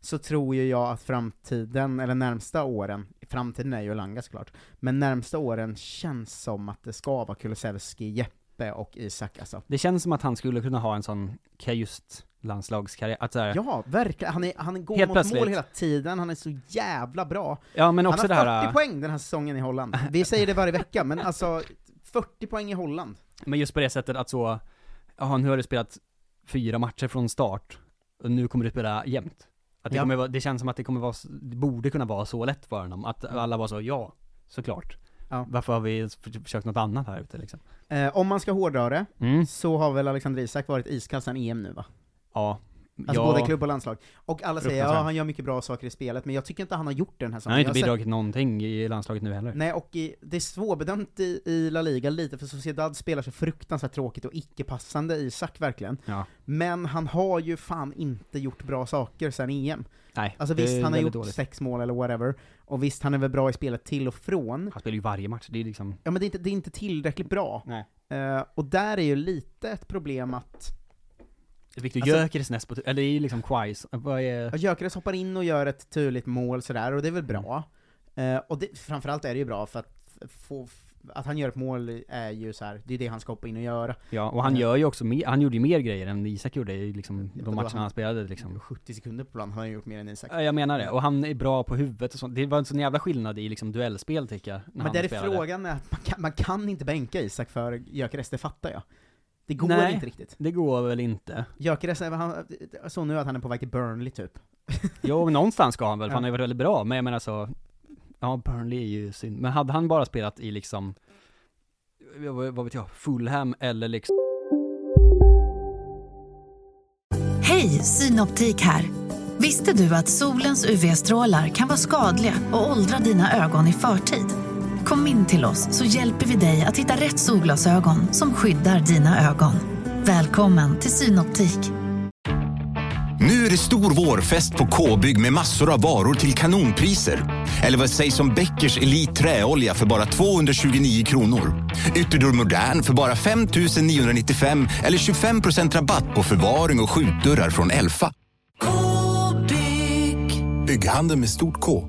[SPEAKER 4] så tror ju jag att framtiden, eller närmsta åren, framtiden är ju Elanga såklart, men närmsta åren känns som att det ska vara Kulusevski, Jeppe och Isak alltså.
[SPEAKER 9] Det känns som att han skulle kunna ha en sån just landslagskarriär, att såhär, ja,
[SPEAKER 4] Ja, verkligen. Han, är, han går
[SPEAKER 9] Helt
[SPEAKER 4] mot
[SPEAKER 9] plötsligt.
[SPEAKER 4] mål hela tiden, han är så jävla bra.
[SPEAKER 9] ja men
[SPEAKER 4] Han
[SPEAKER 9] också
[SPEAKER 4] har
[SPEAKER 9] det
[SPEAKER 4] 40
[SPEAKER 9] här, äh,
[SPEAKER 4] poäng den här säsongen i Holland. Vi säger det varje vecka, men alltså 40 poäng i Holland.
[SPEAKER 9] men just på det sättet att så, jaha nu har du spelat fyra matcher från start, och nu kommer du spela jämt. Att det,
[SPEAKER 4] Ja.
[SPEAKER 9] kommer vara, det känns som att det kommer vara, s- det borde kunna vara så lätt för honom, att alla bara så, ja, såklart.
[SPEAKER 4] Ja.
[SPEAKER 9] Varför har vi för- försökt något annat här ute liksom?
[SPEAKER 4] Eh, om man ska hårdra det,
[SPEAKER 9] Mm.
[SPEAKER 4] så har väl Alexander Isak varit iskall sedan EM nu va?
[SPEAKER 9] Ja.
[SPEAKER 4] Alltså
[SPEAKER 9] ja.
[SPEAKER 4] både klubb och landslag. Och alla säger ja
[SPEAKER 9] Fruktansvärt.
[SPEAKER 4] han gör mycket bra saker i spelet, men jag tycker inte han har gjort det den här
[SPEAKER 9] Han
[SPEAKER 4] säsongen.
[SPEAKER 9] har inte
[SPEAKER 4] Jag har sett-
[SPEAKER 9] bidragit någonting i landslaget nu heller.
[SPEAKER 4] Nej, och i, det är svårbedömt i, i La Liga lite, för Sociedad spelar så fruktansvärt tråkigt och icke-passande Isak verkligen.
[SPEAKER 9] Ja.
[SPEAKER 4] Men han har ju fan inte gjort bra saker sen EM.
[SPEAKER 9] Nej,
[SPEAKER 4] Alltså
[SPEAKER 9] det är
[SPEAKER 4] visst, han har
[SPEAKER 9] väldigt
[SPEAKER 4] gjort
[SPEAKER 9] dåligt.
[SPEAKER 4] sex mål eller whatever, och visst, han är väl bra i spelet till och från.
[SPEAKER 9] Han spelar ju varje match, det är liksom...
[SPEAKER 4] Ja men det är inte, det är inte tillräckligt bra.
[SPEAKER 9] Nej.
[SPEAKER 4] Eh, och där är ju lite ett problem att
[SPEAKER 9] Victor
[SPEAKER 4] Alltså-
[SPEAKER 9] Gyökeres näst på tur- eller det är ju liksom Quais, vad
[SPEAKER 4] ja,
[SPEAKER 9] är...
[SPEAKER 4] Gyökeres hoppar in och gör ett turligt mål sådär, och det är väl bra. Eh, och det, framförallt är det ju bra för att få, att han gör ett mål är ju så här, det är det han ska hoppa in och göra.
[SPEAKER 9] Ja, och han gör ju också mer, han gjorde ju mer grejer än Isak gjorde i liksom
[SPEAKER 4] det
[SPEAKER 9] de
[SPEAKER 4] var
[SPEAKER 9] matcherna
[SPEAKER 4] han.
[SPEAKER 9] han spelade liksom.
[SPEAKER 4] 70 sekunder på plan har han gjort mer än Isak.
[SPEAKER 9] Ja, Jag menar det, och han är bra på huvudet och sånt. Det var en sån jävla skillnad i liksom duellspel tycker jag, när
[SPEAKER 4] Men
[SPEAKER 9] han
[SPEAKER 4] där är
[SPEAKER 9] spelade.
[SPEAKER 4] frågan är att man kan, man kan inte bänka Isak för Gyökeres, det fattar jag. Det går
[SPEAKER 9] Nej.
[SPEAKER 4] inte riktigt.
[SPEAKER 9] Det går väl inte?
[SPEAKER 4] Gyökeres, är- han- jag såg nu att han är på väg till Burnley typ.
[SPEAKER 9] Jo, men någonstans ska han väl, för
[SPEAKER 4] Ja.
[SPEAKER 9] han har ju varit väldigt bra, men jag menar så, ja Burnley är ju synd, men hade han bara spelat i liksom, vad vad vet jag, Fulham eller liksom
[SPEAKER 11] Hej, Synoptik här. Visste du att solens UV-strålar kan vara skadliga och åldra dina ögon i förtid? Kom in till oss så hjälper vi dig att hitta rätt solglasögon som skyddar dina ögon. Välkommen till Synoptik.
[SPEAKER 2] Nu är det stor vårfest på K-bygg med massor av varor till kanonpriser. Eller vad sägs om Bäckers Elite Träolja för bara 229 kronor? Ytterdörr Modern för bara 5 995 eller 25 rabatt på förvaring och skjutdörrar från Elfa. K-bygg. Bygghandeln med stort K.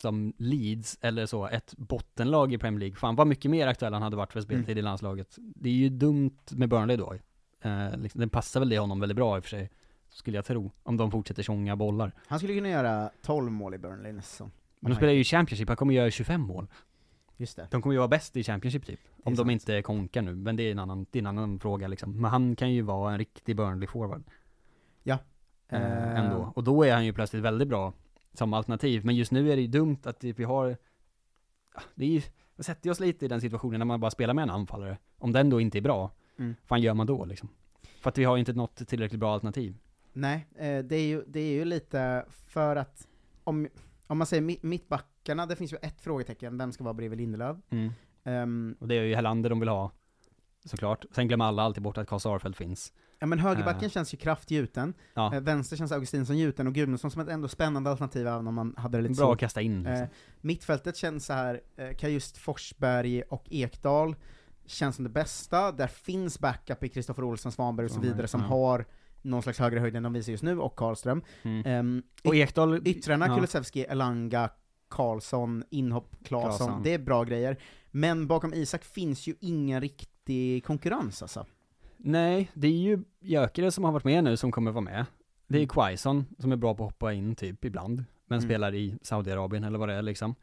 [SPEAKER 9] som Leeds eller så, ett bottenlag i Premier League. Fan vad mycket mer aktuell han hade varit för speltid
[SPEAKER 1] Mm.
[SPEAKER 9] i landslaget. Det är ju dumt med Burnley då. Eh, liksom, den passar väl det honom väldigt bra i och för sig, skulle jag tro. Om de fortsätter tjonga bollar.
[SPEAKER 4] Han skulle kunna göra 12 mål i Burnley nästa säsong.
[SPEAKER 9] Men de spelar ju i Championship, han kommer göra 25 mål.
[SPEAKER 4] Just det.
[SPEAKER 9] De kommer ju vara bäst i Championship typ. Om
[SPEAKER 4] sant.
[SPEAKER 9] de inte konkar nu, men det är en annan, det är en annan fråga liksom. Men han kan ju vara en riktig Burnley-forward.
[SPEAKER 4] Ja.
[SPEAKER 9] eh, ändå. Och då är han ju plötsligt väldigt bra som alternativ. Men just nu är det ju dumt att typ vi har, ja, det är ju, det sätter oss lite i den situationen när man bara spelar med en anfallare. Om den då inte är bra,
[SPEAKER 4] Mm.
[SPEAKER 9] fan gör man då liksom? För att vi har inte något tillräckligt bra alternativ.
[SPEAKER 4] Nej, eh, det är ju, det är ju lite för att, om, om man säger mi- mittbackarna, det finns ju ett frågetecken, vem ska vara bredvid Lindelöf? Ehm,
[SPEAKER 9] Och det är ju Helander de vill ha, såklart. Sen glömmer alla alltid bort att Karl Sarfeld finns.
[SPEAKER 4] ja men högerbacken
[SPEAKER 9] Eh.
[SPEAKER 4] känns ju kraft gjuten,
[SPEAKER 9] Ja.
[SPEAKER 4] eh, vänster känns Augustinsson gjuten och Gudmundsson som ett ändå spännande alternativ även om man hade det lite
[SPEAKER 9] Bra att
[SPEAKER 4] svårt.
[SPEAKER 9] kasta in liksom.
[SPEAKER 4] Eh, mittfältet känns så här, eh, kan just Forsberg och Ekdal känns som det bästa, där finns backup i Kristoffer Olsson, Svanberg och så
[SPEAKER 9] Svanberg,
[SPEAKER 4] vidare som
[SPEAKER 9] ja.
[SPEAKER 4] har någon slags högre höjd än de visar just nu, och Karlström.
[SPEAKER 9] Mm.
[SPEAKER 4] Ehm,
[SPEAKER 9] Och Ekdal...
[SPEAKER 4] Yttrarna,
[SPEAKER 9] ja.
[SPEAKER 4] Kulusevski, Elanga, Karlsson, inhopp, Claesson,
[SPEAKER 9] Claesson.
[SPEAKER 4] det är bra grejer. Men bakom Isak finns ju ingen riktig konkurrens alltså.
[SPEAKER 9] Nej, det är ju Jökere som har varit med nu som kommer vara med. Det är Quaison som är bra på att hoppa in typ ibland, men
[SPEAKER 4] Mm.
[SPEAKER 9] spelar i Saudiarabien eller vad det är liksom.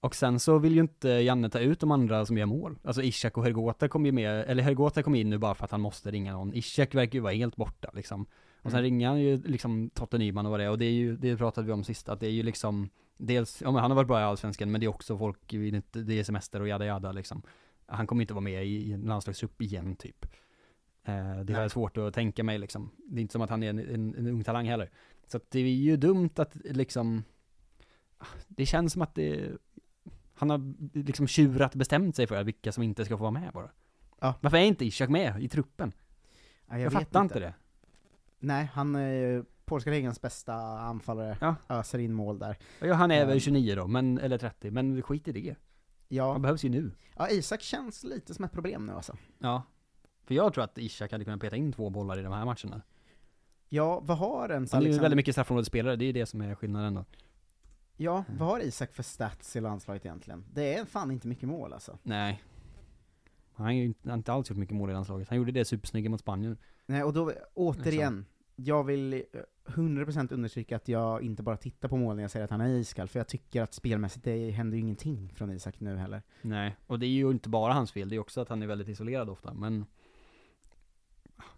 [SPEAKER 9] Och sen så vill ju inte Janne ta ut de andra som gör mål. Alltså Ishak och Hergota kom ju med, eller Hergota kom in nu bara för att han måste ringa någon. Ishak verkar ju vara helt borta liksom. Och sen ringer han ju liksom Totte Nyman och vad det är, och det är ju, det pratade vi om sist, att det är ju liksom Dels, ja men han har varit bra i Allsvenskan, men det är också folk, vill inte, det är semester och jada jada liksom. Han kommer inte vara med i, i en landslagstrupp igen typ. Eh, det är svårt att tänka mig liksom. Det är inte som att han är en, en, en ung talang heller. Så att det är ju dumt att liksom, det känns som att det, Han har liksom tjurat bestämt sig för vilka som inte ska få vara med bara. Varför är inte Ishak med i truppen?
[SPEAKER 4] Ja,
[SPEAKER 9] jag
[SPEAKER 4] vet
[SPEAKER 9] fattar inte det.
[SPEAKER 4] Nej, han är ju polska ligans bästa anfallare, öser in mål där.
[SPEAKER 9] Ja, han är
[SPEAKER 4] Ehm.
[SPEAKER 9] väl 29 då, men, eller 30, men skit i det.
[SPEAKER 4] Ja.
[SPEAKER 9] Han behövs ju nu.
[SPEAKER 4] Ja, Isak känns lite som ett problem nu alltså.
[SPEAKER 9] Ja. För jag tror att Ishak hade kunnat peta in två bollar i de här matcherna.
[SPEAKER 4] Ja, vad har ens
[SPEAKER 9] Han är ju
[SPEAKER 4] Alexander...
[SPEAKER 9] väldigt mycket straffområdesspelare, det är ju det som är skillnaden då.
[SPEAKER 4] Ja,
[SPEAKER 9] Mm.
[SPEAKER 4] vad har Isak för stats i landslaget egentligen? Det är fan inte mycket mål alltså.
[SPEAKER 9] Nej. Han har ju inte, han har inte alls gjort mycket mål i landslaget. Han gjorde det supersnygga mot Spanien.
[SPEAKER 4] Nej, och då återigen,
[SPEAKER 9] Liksom.
[SPEAKER 4] jag vill eh, 100% understryka att jag inte bara tittar på mål när jag säger att han är iskall, för jag tycker att spelmässigt det händer ju ingenting från Isak nu heller.
[SPEAKER 9] Nej, och det är ju inte bara hans fel, det är ju också att han är väldigt isolerad ofta, men...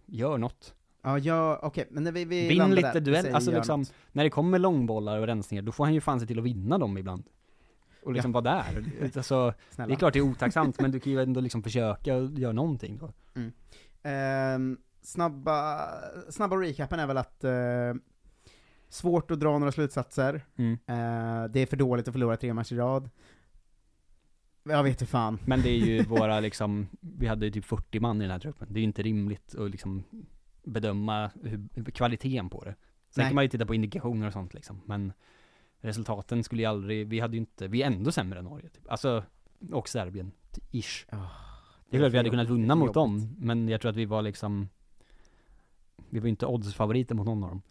[SPEAKER 9] Gör något.
[SPEAKER 4] Ja, jag, okej, men när vi, vi
[SPEAKER 9] Vinn
[SPEAKER 4] landar
[SPEAKER 9] lite
[SPEAKER 4] där,
[SPEAKER 9] duell,
[SPEAKER 4] säger
[SPEAKER 9] alltså
[SPEAKER 4] gör
[SPEAKER 9] liksom,
[SPEAKER 4] något.
[SPEAKER 9] när det kommer långbollar och rensningar, då får han ju fan se till att vinna dem ibland. Och liksom vara där. Alltså,
[SPEAKER 4] Snälla.
[SPEAKER 9] det är klart det är otacksamt, men du kan ju ändå liksom försöka och göra någonting då.
[SPEAKER 4] Mm. Ehm, snabba, snabba recapen är väl att eh, svårt att dra några slutsatser.
[SPEAKER 9] Mm.
[SPEAKER 4] Eh, det är för dåligt att förlora tre matcher i rad. Jag vet inte fan.
[SPEAKER 9] Men det är ju våra liksom, vi hade ju typ 40 man i den här truppen. Det är ju inte rimligt att liksom bedöma hur, hur- kvaliteten på det. Sen
[SPEAKER 4] Nej.
[SPEAKER 9] kan man ju titta på indikationer och sånt liksom, men resultaten skulle ju aldrig, vi hade ju inte, vi är ändå sämre än Norge typ. Alltså, och Serbien, t- ish.
[SPEAKER 4] Ah,
[SPEAKER 9] det är klart vi hade kunnat vinna mot dem, men jag tror att vi var liksom, vi var ju inte oddsfavoriter mot någon av dem.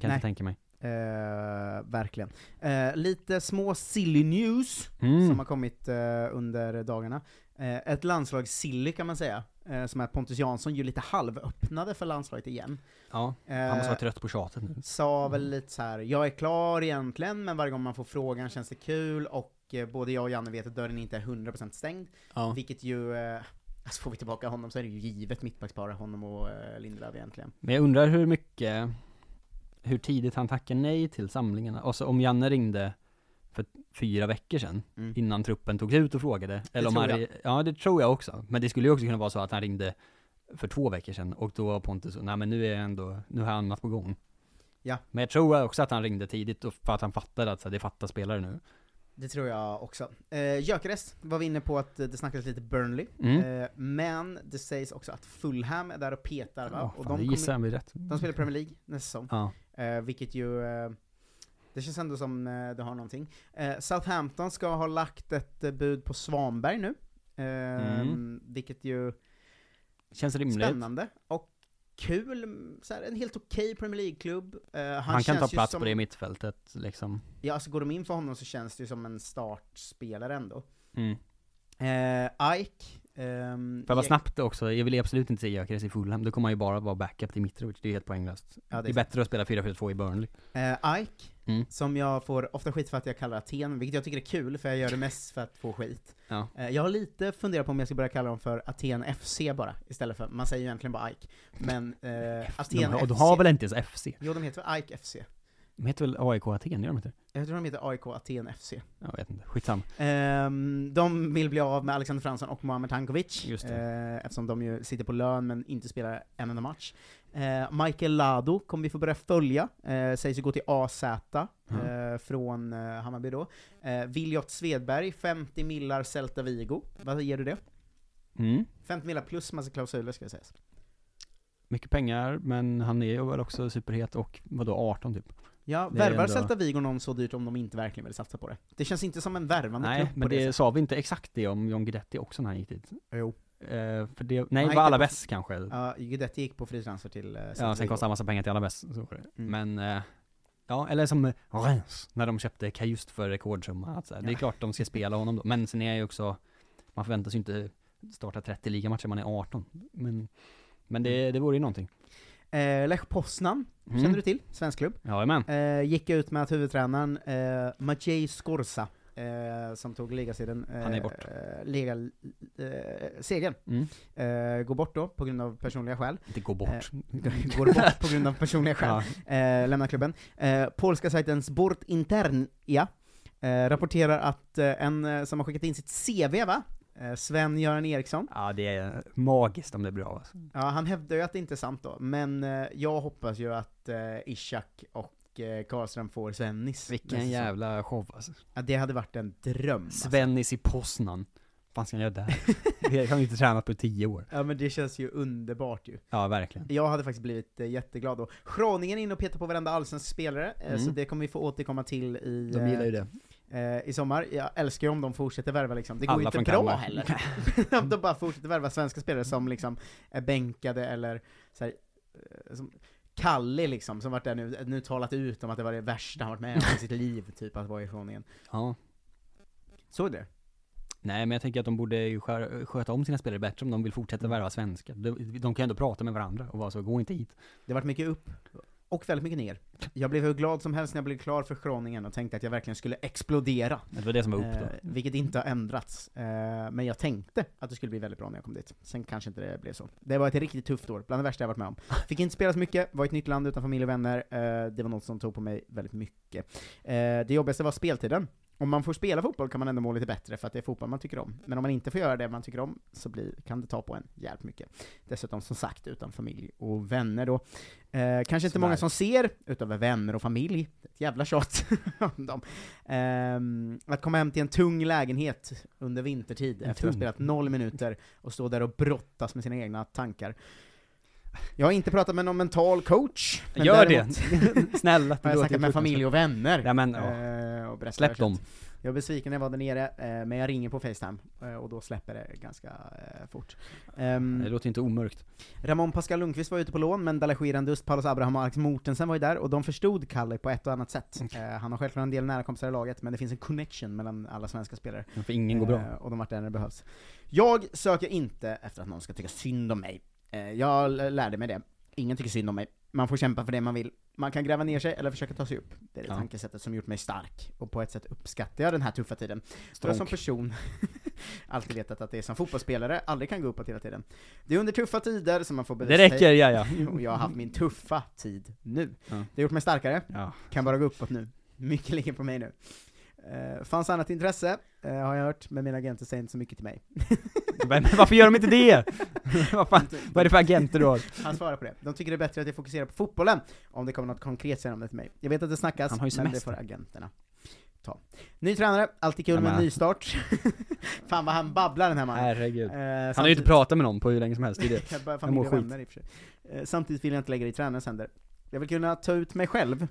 [SPEAKER 9] Kan
[SPEAKER 4] Nej.
[SPEAKER 9] jag tänka mig.
[SPEAKER 4] Eh, verkligen. Eh, lite små silly news
[SPEAKER 9] Mm.
[SPEAKER 4] som har kommit eh, under dagarna. Eh, ett landslag silly kan man säga, eh, som är att Pontus Jansson ju lite halvöppnade för landslaget igen.
[SPEAKER 9] Ja, han måste
[SPEAKER 4] Eh,
[SPEAKER 9] vara trött på tjatet nu.
[SPEAKER 4] sa väl lite så här: jag är klar egentligen, men varje gång man får frågan känns det kul och eh, både jag och Janne vet att dörren inte är 100% stängd.
[SPEAKER 9] Ja.
[SPEAKER 4] Vilket ju, eh, alltså får vi tillbaka honom så är det ju givet mittbackspar, honom och eh, Lindelöf egentligen.
[SPEAKER 9] Men jag undrar hur mycket, hur tidigt han tackade nej till samlingarna. Alltså om Janne ringde för fyra veckor sedan,
[SPEAKER 4] Mm.
[SPEAKER 9] innan truppen togs ut och frågade. Eller om
[SPEAKER 4] tror
[SPEAKER 9] han,
[SPEAKER 4] jag.
[SPEAKER 9] Ja, det tror jag också. Men det skulle ju också kunna vara så att han ringde för två veckor sedan och då var Pontus, nej men nu är jag ändå, nu har jag annat på gång.
[SPEAKER 4] Ja.
[SPEAKER 9] Men jag tror också att han ringde tidigt och- för att han fattade att så här, det fattas spelare nu.
[SPEAKER 4] Det tror jag också. Eh, Gyökeres var vi inne på att eh, det snackades lite Burnley,
[SPEAKER 9] Mm.
[SPEAKER 4] eh, men det sägs också att Fulham är där och petar va?
[SPEAKER 9] Ja,
[SPEAKER 4] och
[SPEAKER 9] fan, det gissar jag mig rätt.
[SPEAKER 4] de spelar Premier League nästa säsong.
[SPEAKER 9] Ja.
[SPEAKER 4] Eh, vilket ju, eh, det känns ändå som eh, det har någonting. Eh, Southampton ska ha lagt ett eh, bud på Svanberg nu. Eh,
[SPEAKER 9] Mm.
[SPEAKER 4] Vilket ju
[SPEAKER 9] Känns rimligt.
[SPEAKER 4] spännande. Och kul, mm, så här, en helt okej Premier League-klubb. Eh, han
[SPEAKER 9] Han, kan
[SPEAKER 4] känns
[SPEAKER 9] ta
[SPEAKER 4] ju
[SPEAKER 9] plats
[SPEAKER 4] som,
[SPEAKER 9] på det mittfältet liksom.
[SPEAKER 4] Ja, alltså går de in för honom så känns det ju som en startspelare ändå.
[SPEAKER 9] Mm.
[SPEAKER 4] Eh, Ike. ehm,
[SPEAKER 9] Får jag bara
[SPEAKER 4] Ek-
[SPEAKER 9] snabbt också, jag vill absolut inte se Gyökeres i Fulham, då kommer han ju bara vara backup till Mitrovic, det är ju helt poänglöst.
[SPEAKER 4] Ja, det är
[SPEAKER 9] det, är bättre att spela 4-4-2 i Burnley.
[SPEAKER 4] Eh, Ike,
[SPEAKER 9] Mm.
[SPEAKER 4] som jag får ofta skit för att jag kallar Aten, vilket jag tycker är kul för jag gör det mest för att få skit.
[SPEAKER 9] Ja.
[SPEAKER 4] Eh, jag har lite funderat på om jag ska börja kalla dem för Aten FC bara, istället för, man säger ju egentligen bara Ike. Men eh,
[SPEAKER 9] De,
[SPEAKER 4] Aten
[SPEAKER 9] har- de
[SPEAKER 4] FC.
[SPEAKER 9] har väl inte ens FC?
[SPEAKER 4] Jo, de heter väl Ike FC.
[SPEAKER 9] De heter väl AIK Aten, gör de inte det?
[SPEAKER 4] Jag tror de heter AIK Aten FC.
[SPEAKER 9] Jag vet inte, skitsamma.
[SPEAKER 4] Ehm, de vill bli av med Alexander Fransson och Mohamed Tankovic,
[SPEAKER 9] Just
[SPEAKER 4] eh, eftersom de ju sitter på lön men inte spelar en enda match. Eh, Michael Lado kommer vi få börja följa, eh, sägs ju gå till AZ
[SPEAKER 9] Mm.
[SPEAKER 4] eh, från eh, Hammarby då. Eh, Viljot Svedberg, 50 millar Celta Vigo. Vad ger du det?
[SPEAKER 9] Mm.
[SPEAKER 4] 50 millar plus massa klausuler ska jag säga.
[SPEAKER 9] Mycket pengar, men han är ju väl också superhet och vadå 18 typ?
[SPEAKER 4] Ja,
[SPEAKER 9] Det är
[SPEAKER 4] värvar
[SPEAKER 9] ändå-
[SPEAKER 4] Celta Vigo någon så dyrt om de inte verkligen vill satsa på det? Det känns inte som en värvande
[SPEAKER 9] Nej,
[SPEAKER 4] klubb på
[SPEAKER 9] men
[SPEAKER 4] det
[SPEAKER 9] det
[SPEAKER 4] sättet.
[SPEAKER 9] sa vi inte exakt det om John Guidetti också när han gick dit?
[SPEAKER 4] Jo.
[SPEAKER 9] Eh, för det,
[SPEAKER 4] Han
[SPEAKER 9] nej, det
[SPEAKER 4] gick
[SPEAKER 9] var alla
[SPEAKER 4] på-
[SPEAKER 9] bäst kanske?
[SPEAKER 4] Ja, Guidetti gick på fritransfer till eh, Celta
[SPEAKER 9] Ja, sen
[SPEAKER 4] Vigo.
[SPEAKER 9] kostade han massa pengar till alla bäst, så var det. Men, eh, ja, eller som eh, Reims, när de köpte Kajust för rekordsumma. Alltså, Det är
[SPEAKER 4] Ja.
[SPEAKER 9] klart de ska spela honom då, men sen är jag ju också, man förväntas ju inte starta 30 ligamatcher, man är 18. Men, men det, det vore ju någonting.
[SPEAKER 4] Eh, Lech Poznan,
[SPEAKER 9] Mm.
[SPEAKER 4] känner du till? Svensk klubb.
[SPEAKER 9] Jajamän.
[SPEAKER 4] Eh, gick ut med att huvudtränaren eh, Maciej Skorsa, eh, som tog ligasiden, eh,
[SPEAKER 9] Han är bort.
[SPEAKER 4] Eh, liga, eh, segern,
[SPEAKER 9] Mm.
[SPEAKER 4] eh, går bort då på grund av personliga skäl.
[SPEAKER 9] Inte gå bort.
[SPEAKER 4] Eh, går bort på grund av personliga skäl. Eh, lämnar klubben. Eh, polska sajten Sport Internia eh, rapporterar att eh, en eh, som har skickat in sitt CV va? Eh, Sven-Göran Eriksson.
[SPEAKER 9] Ja, det är magiskt om det blir av. alltså.
[SPEAKER 4] Ja, han hävdar ju att det inte är sant då, men eh, jag hoppas ju att eh, Ishak och och eh, Karlström får Svennis. nästa
[SPEAKER 9] Vilken
[SPEAKER 4] säsong.
[SPEAKER 9] jävla show alltså.
[SPEAKER 4] Ja, det hade varit en dröm. alltså.
[SPEAKER 9] Svennis i Poznan. Vad fan ska han göra där? Det har han inte tränat på tio år.
[SPEAKER 4] Ja men det känns ju underbart ju.
[SPEAKER 9] Ja, verkligen.
[SPEAKER 4] Jag hade faktiskt blivit eh, jätteglad då. Schroningen är inne och petar på varenda allsvensk spelare, eh, så
[SPEAKER 9] Mm.
[SPEAKER 4] det kommer vi få återkomma till i,
[SPEAKER 9] De gillar ju det.
[SPEAKER 4] eh, eh, i sommar. Jag älskar ju om de fortsätter värva liksom. Det går
[SPEAKER 9] Alla
[SPEAKER 4] ju inte
[SPEAKER 9] från
[SPEAKER 4] bra
[SPEAKER 9] Kalmar.
[SPEAKER 4] heller. Om de bara fortsätter värva svenska spelare som liksom är bänkade eller så här, eh, som Kalle liksom, som varit där nu, nu talat ut om att det var det värsta han varit med om i sitt liv, typ att vara i Schroningen.
[SPEAKER 9] Ja.
[SPEAKER 4] Såg du det?
[SPEAKER 9] Nej, men jag tänker att de borde ju skö- sköta om sina spelare bättre om de vill fortsätta
[SPEAKER 4] Mm.
[SPEAKER 9] värva svenskar. De, de kan ju ändå prata med varandra och vara så, gå inte hit.
[SPEAKER 4] Det har varit mycket upp och väldigt mycket ner. Jag blev hur glad som helst när jag blev klar för Schroningen och tänkte att jag verkligen skulle explodera.
[SPEAKER 9] Det var det som var upp då.
[SPEAKER 4] Eh, vilket inte har ändrats. Eh, men jag tänkte att det skulle bli väldigt bra när jag kom dit. Sen kanske inte det blev så. Det var ett riktigt tufft år, bland det värsta jag varit med om. Fick inte spela så mycket, var i ett nytt land utan familj och vänner. Eh, det var något som tog på mig väldigt mycket. Eh, det jobbigaste var speltiden. Om man får spela fotboll kan man ändå må lite bättre för att det är fotboll man tycker om. Men om man inte får göra det man tycker om så blir, kan det ta på en jävligt mycket. Dessutom som sagt utan familj och vänner då. Eh, kanske inte
[SPEAKER 9] Sådär.
[SPEAKER 4] många som ser, utöver vänner och familj. Ett jävla tjat om dem. Ehm, att komma hem till en tung lägenhet under vintertid efter
[SPEAKER 9] En
[SPEAKER 4] att ha
[SPEAKER 9] tung.
[SPEAKER 4] spelat noll minuter och stå där och brottas med sina egna tankar. Jag har inte pratat med någon mental coach. men
[SPEAKER 9] Gör
[SPEAKER 4] däremot
[SPEAKER 9] det! Snälla!
[SPEAKER 4] Har jag snackat med familj och vänner.
[SPEAKER 9] Ja, men, ja.
[SPEAKER 4] eh, och berättat vad jag
[SPEAKER 9] Släpp
[SPEAKER 4] känt.
[SPEAKER 9] dem.
[SPEAKER 4] Jag är besviken när jag var där nere, eh, men jag ringer på Facetime, eh, och då släpper det ganska eh, fort. Ehm,
[SPEAKER 9] Det låter inte omörkt.
[SPEAKER 4] Ramon Pascal Lundqvist var ute på lån, men Dalai Girandust, Paulus Abraham och Alex Mortensen var ju där, och de förstod Kalle på ett och annat sätt. Eh, han har självklart en del nära kompisar i laget, men det finns en connection mellan alla svenska spelare.
[SPEAKER 9] För ingen går
[SPEAKER 4] Eh,
[SPEAKER 9] bra.
[SPEAKER 4] och de vart där när det behövs. Jag söker inte efter att någon ska tycka synd om mig. Eh, jag l- lärde mig det. Ingen tycker synd om mig. Man får kämpa för det man vill. Man kan gräva ner sig eller försöka ta sig upp. Det är det
[SPEAKER 9] Ja.
[SPEAKER 4] tankesättet som gjort mig stark. Och på ett sätt uppskattar jag den här tuffa tiden. För jag som
[SPEAKER 9] Stronk.
[SPEAKER 4] person alltid vetat att det är som fotbollsspelare, aldrig kan gå uppåt hela tiden. Det är under tuffa tider som man får
[SPEAKER 9] Det räcker, ja ja.
[SPEAKER 4] Och jag har haft min tuffa tid nu.
[SPEAKER 9] Ja.
[SPEAKER 4] Det har gjort mig starkare.
[SPEAKER 9] ja.
[SPEAKER 4] Kan bara gå uppåt nu. Mycket ligger på mig nu. Eh, fanns annat intresse, eh, har jag hört, men mina agenter säger inte så mycket till mig.
[SPEAKER 9] Men varför gör de inte det? vad, fan, vad är det för agenter du har?
[SPEAKER 4] Han svarar på det. De tycker det är bättre att jag fokuserar på fotbollen, om det kommer något konkret sedan om det till mig. Jag vet att det snackas,
[SPEAKER 9] Han har ju
[SPEAKER 4] men det
[SPEAKER 9] semester.
[SPEAKER 4] får agenterna ta. Ny tränare, alltid kul
[SPEAKER 9] Ja,
[SPEAKER 4] med en
[SPEAKER 9] men-
[SPEAKER 4] nystart. Fan vad han babblar den här mannen.
[SPEAKER 9] Herregud.
[SPEAKER 4] Eh,
[SPEAKER 9] Han har ju
[SPEAKER 4] samtidigt-
[SPEAKER 9] inte pratat med någon på hur länge som helst, det är det.
[SPEAKER 4] Jag börjar
[SPEAKER 9] Jag mår
[SPEAKER 4] familj och vänner i och för sig. Eh, Samtidigt vill jag inte lägga det i tränarens händer. Jag vill kunna ta ut mig själv,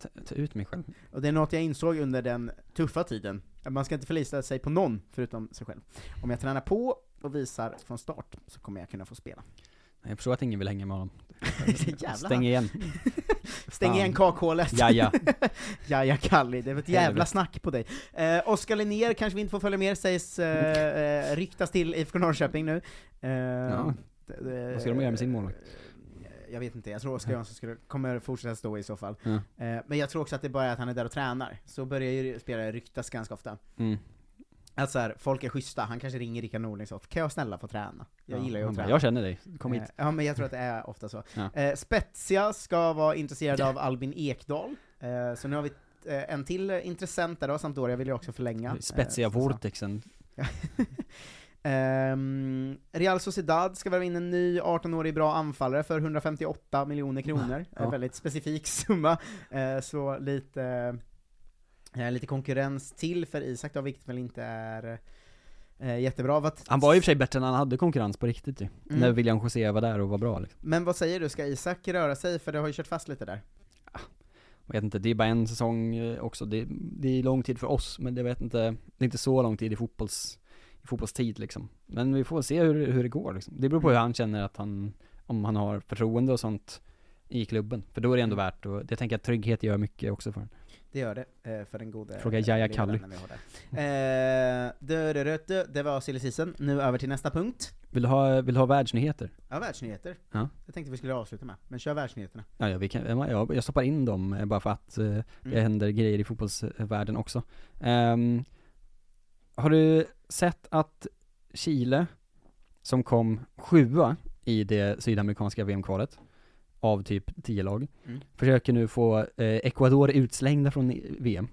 [SPEAKER 9] Ta, ta ut mig själv.
[SPEAKER 4] och det är något jag insåg under den tuffa tiden. Att Man ska inte förlita sig på någon förutom sig själv. Om jag tränar på och visar från start så kommer jag kunna få spela.
[SPEAKER 9] Jag förstår att ingen vill hänga med honom.
[SPEAKER 4] Jävlar.
[SPEAKER 9] Stäng igen.
[SPEAKER 4] Stäng
[SPEAKER 9] Fan.
[SPEAKER 4] igen kakhålet!
[SPEAKER 9] Ja, ja.
[SPEAKER 4] Jaja Kalli, det var ett jävla
[SPEAKER 9] Helvete.
[SPEAKER 4] snack på dig. Eh, Oskar Linnér kanske vi inte får följa med, sägs eh, eh, ryktas till IFK Norrköping nu. Eh, d- d-
[SPEAKER 9] Vad ska de göra med sin målvakt?
[SPEAKER 4] Eh, Jag vet inte, jag tror Oskar Jönsson skulle, kommer fortsätta stå i så fall.
[SPEAKER 9] Ja.
[SPEAKER 4] Eh, men jag tror också att det bara är att han är där och tränar, så börjar ju spelare ryktas ganska ofta.
[SPEAKER 9] Mm.
[SPEAKER 4] Att så här, folk är schyssta, han kanske ringer Rickard Norling så kan jag snälla få träna? Jag
[SPEAKER 9] Ja,
[SPEAKER 4] gillar ju att
[SPEAKER 9] han bara,
[SPEAKER 4] träna.
[SPEAKER 9] Jag känner dig, kom hit.
[SPEAKER 4] Eh, Ja men jag tror att det är ofta så.
[SPEAKER 9] Ja.
[SPEAKER 4] Eh, Spezia ska vara intresserade av Albin Ekdal, eh, så nu har vi eh, en till eh, intressent där då, Sampdoria vill jag också förlänga.
[SPEAKER 9] Spetsiga
[SPEAKER 4] Eh, så-
[SPEAKER 9] vortexen.
[SPEAKER 4] Ehm, Real Sociedad ska värva in en ny 18-årig bra anfallare för 158 miljoner kronor.
[SPEAKER 9] Ja.
[SPEAKER 4] En väldigt specifik summa. Eh, så lite, eh, lite konkurrens till för Isak då, vilket väl inte är eh, jättebra. Vad,
[SPEAKER 9] Han var ju i och för sig bättre när han hade konkurrens på riktigt ju.
[SPEAKER 4] Mm.
[SPEAKER 9] När William José var där och var bra liksom.
[SPEAKER 4] men vad säger du, ska Isak röra sig? För det har ju kört fast lite där.
[SPEAKER 9] Jag vet inte, det är bara en säsong eh, också. Det, det är lång tid för oss, men det vet inte, det är inte så lång tid i fotbolls, i fotbollstid liksom. Men vi får se hur, hur det går liksom. Det beror på hur han känner att han, om han har förtroende och sånt i klubben. För då är det ändå
[SPEAKER 4] Mm.
[SPEAKER 9] värt och jag tänker att trygghet gör mycket också för honom.
[SPEAKER 4] Det gör det, eh, för den gode
[SPEAKER 9] Fråga Yahya
[SPEAKER 4] lilla
[SPEAKER 9] Kalli.
[SPEAKER 4] vännen vi har där. Eh, dö, dö, dö, dö. Det var silly season. Nu över till nästa punkt.
[SPEAKER 9] Vill du ha, vill du ha världsnyheter?
[SPEAKER 4] Ja, världsnyheter.
[SPEAKER 9] Ja.
[SPEAKER 4] Jag tänkte vi skulle avsluta med, men kör världsnyheterna.
[SPEAKER 9] Ja, ja, vi kan, jag, jag stoppar in dem eh, bara för att eh, det
[SPEAKER 4] Mm.
[SPEAKER 9] händer grejer i fotbollsvärlden också. Ehm, har du sett att Chile, som kom sjua i det sydamerikanska VM-kvalet, av typ 10 lag,
[SPEAKER 4] Mm.
[SPEAKER 9] försöker nu få eh, Ecuador utslängda från i- VM.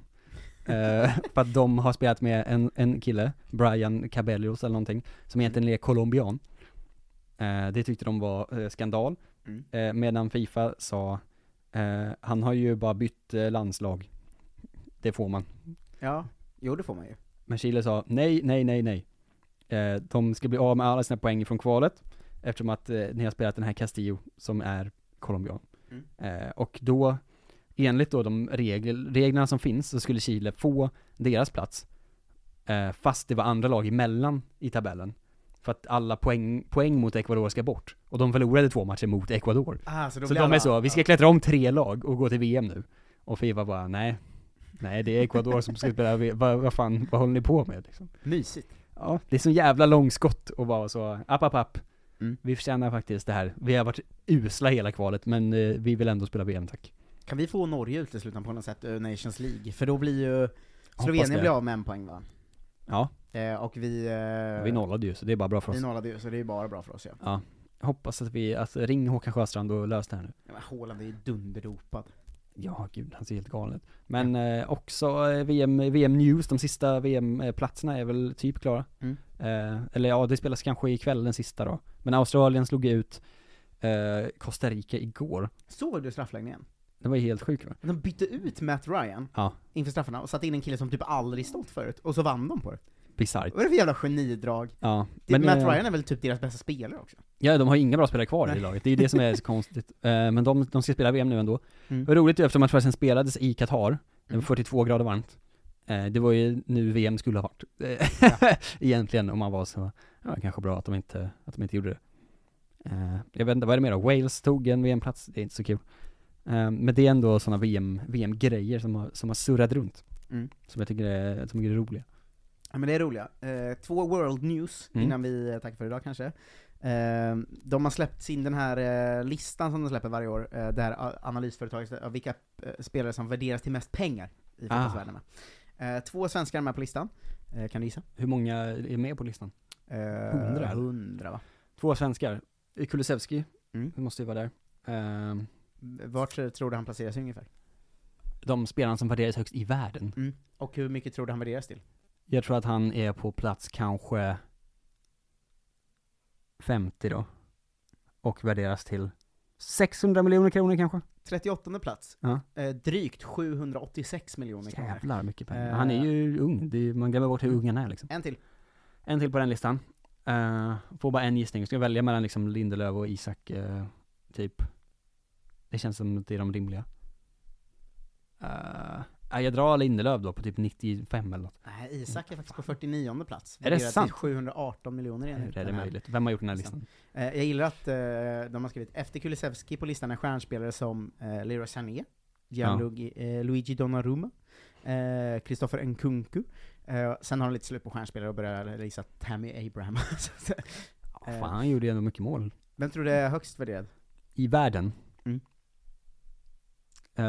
[SPEAKER 9] Eh, för att de har spelat med en, en kille, Brian Cabellos eller någonting, som egentligen
[SPEAKER 4] Mm.
[SPEAKER 9] är colombian. Eh, det tyckte de var eh, skandal.
[SPEAKER 4] Mm.
[SPEAKER 9] Eh, medan Fifa sa Eh, han har ju bara bytt eh, landslag. Det får man.
[SPEAKER 4] Ja, jo det får man ju.
[SPEAKER 9] Men Chile sa nej, nej, nej, nej. Eh, de ska bli av med alla sina poäng från kvalet eftersom att eh, ni har spelat den här Castillo som är colombian. Eh, och då, enligt då de regel, reglerna som finns så skulle Chile få deras plats eh, fast det var andra lag emellan i tabellen. För att alla poäng, poäng mot Ecuador ska bort. Och de förlorade två matcher mot Ecuador.
[SPEAKER 4] Ah, så
[SPEAKER 9] så
[SPEAKER 4] då
[SPEAKER 9] de
[SPEAKER 4] blir alla-
[SPEAKER 9] är så, vi ska klättra om tre lag och gå till VM nu. Och Fifa bara, nej, nej det är Ecuador som ska spela, V- vad, vad fan, vad håller ni på med liksom?
[SPEAKER 4] Mysigt.
[SPEAKER 9] Ja, det är så jävla långskott och bara så, app, app, app. Vi förtjänar faktiskt det här. Vi har varit usla hela kvalet, men eh, vi vill ändå spela VM, tack.
[SPEAKER 4] Kan vi få Norge utesluten på något sätt ur Nations League? För då blir ju
[SPEAKER 9] det.
[SPEAKER 4] Slovenien blir av med en poäng va?
[SPEAKER 9] Ja,
[SPEAKER 4] Eh, och vi... Eh,
[SPEAKER 9] vi nollade ju, så det är bara bra för oss.
[SPEAKER 4] Vi nollade ju, så det är bara bra för oss ja.
[SPEAKER 9] Ja. Hoppas att vi, att ring Håkan Sjöstrand och lös det här nu.
[SPEAKER 4] ja men Haaland är ju dunderdopad.
[SPEAKER 9] Ja, gud, han ser helt galen ut. Men eh, också eh, VM, VM News, de sista VM-platserna är väl typ klara.
[SPEAKER 4] Mm.
[SPEAKER 9] Eh, eller ja, det spelas kanske ikväll den sista då. Men Australien slog ut eh, Costa Rica igår.
[SPEAKER 4] Såg du straffläggningen?
[SPEAKER 9] Det var ju helt sjukt va?
[SPEAKER 4] De bytte ut Matt Ryan
[SPEAKER 9] Ja,
[SPEAKER 4] inför straffarna och satte in en kille som typ aldrig stått förut, och så vann de på det.
[SPEAKER 9] bisarrt.
[SPEAKER 4] Vad är det för jävla genidrag?
[SPEAKER 9] Ja,
[SPEAKER 4] Det, Matt
[SPEAKER 9] eh,
[SPEAKER 4] Ryan är väl typ deras bästa spelare också?
[SPEAKER 9] Ja, de har ju inga bra spelare kvar i
[SPEAKER 4] Nej.
[SPEAKER 9] laget. Det är ju det som är så konstigt. Eh, Men de, de ska spela VM nu ändå.
[SPEAKER 4] Mm.
[SPEAKER 9] Och roligt är eftersom matchen spelades i Qatar. Det var
[SPEAKER 4] Mm.
[SPEAKER 9] 42 grader varmt. Eh, Det var ju nu VM skulle ha varit. Eh, Egentligen, om man var så, ja, kanske bra att de inte, att de inte gjorde det. Eh, Jag vet inte, vad är det mer då? Wales tog en VM-plats, det är inte så kul. Eh, Men det är ändå sådana VM, VM-grejer som har, som har surrat runt.
[SPEAKER 4] Mm.
[SPEAKER 9] Som jag tycker är, som jag tycker är roliga.
[SPEAKER 4] Ja men det är roliga. Eh, två world news
[SPEAKER 9] Mm.
[SPEAKER 4] innan vi eh, tackar för idag kanske. Eh, de har släppt sin den här eh, listan som de släpper varje år, eh, det här a- analysföretaget, av vilka eh, spelare som värderas till mest pengar i
[SPEAKER 9] Ah.
[SPEAKER 4] fotbollsvärlden. Eh, två svenskar är med på listan, eh, kan du gissa?
[SPEAKER 9] Hur många är med på listan?
[SPEAKER 4] Eh,
[SPEAKER 9] Hundra, eller?
[SPEAKER 4] Hundra va?
[SPEAKER 9] Två svenskar. Kulusevski,
[SPEAKER 4] Mm.
[SPEAKER 9] det måste ju vara där. Ehm,
[SPEAKER 4] Vart eh, tror du han placeras ungefär?
[SPEAKER 9] de spelarna som värderas högst i världen.
[SPEAKER 4] Mm. Och hur mycket tror du han värderas till?
[SPEAKER 9] Jag tror att han är på plats kanske 50 då. Och värderas till 600 miljoner kronor kanske?
[SPEAKER 4] 38 plats,
[SPEAKER 9] Ja.
[SPEAKER 4] eh, drygt 786 miljoner kronor.
[SPEAKER 9] Jävlar mycket pengar.
[SPEAKER 4] Eh.
[SPEAKER 9] Han är ju ung, det är, man glömmer bort hur ung han är liksom.
[SPEAKER 4] En till.
[SPEAKER 9] En till på den listan. Uh, får bara en gissning, ska jag välja mellan liksom Lindelöf och Isak, eh, typ? Det känns som att det är de rimliga. Eh, ja, jag drar Lindelöf då på typ 95 eller något.
[SPEAKER 4] Nej, Isak är faktiskt på 49 plats.
[SPEAKER 9] Är det
[SPEAKER 4] Värderas till
[SPEAKER 9] sant?
[SPEAKER 4] 718 miljoner enligt
[SPEAKER 9] Hur är det
[SPEAKER 4] den här
[SPEAKER 9] möjligt? Vem har gjort den här listan?
[SPEAKER 4] Eh, jag gillar att eh, de har skrivit efter Kulusevski på listan är stjärnspelare som eh, Leroy Sané, Gianluigi, eh, Luigi Donnarumma, eh, Christopher Nkunku. Eh, sen har de lite slut på stjärnspelare och börjar lista Tammy Abraham. Så att,
[SPEAKER 9] Ja,
[SPEAKER 4] eh,
[SPEAKER 9] fan, han gjorde ju ändå mycket mål.
[SPEAKER 4] Vem tror du är högst värderad?
[SPEAKER 9] I världen.
[SPEAKER 4] Mm.
[SPEAKER 9] Eh,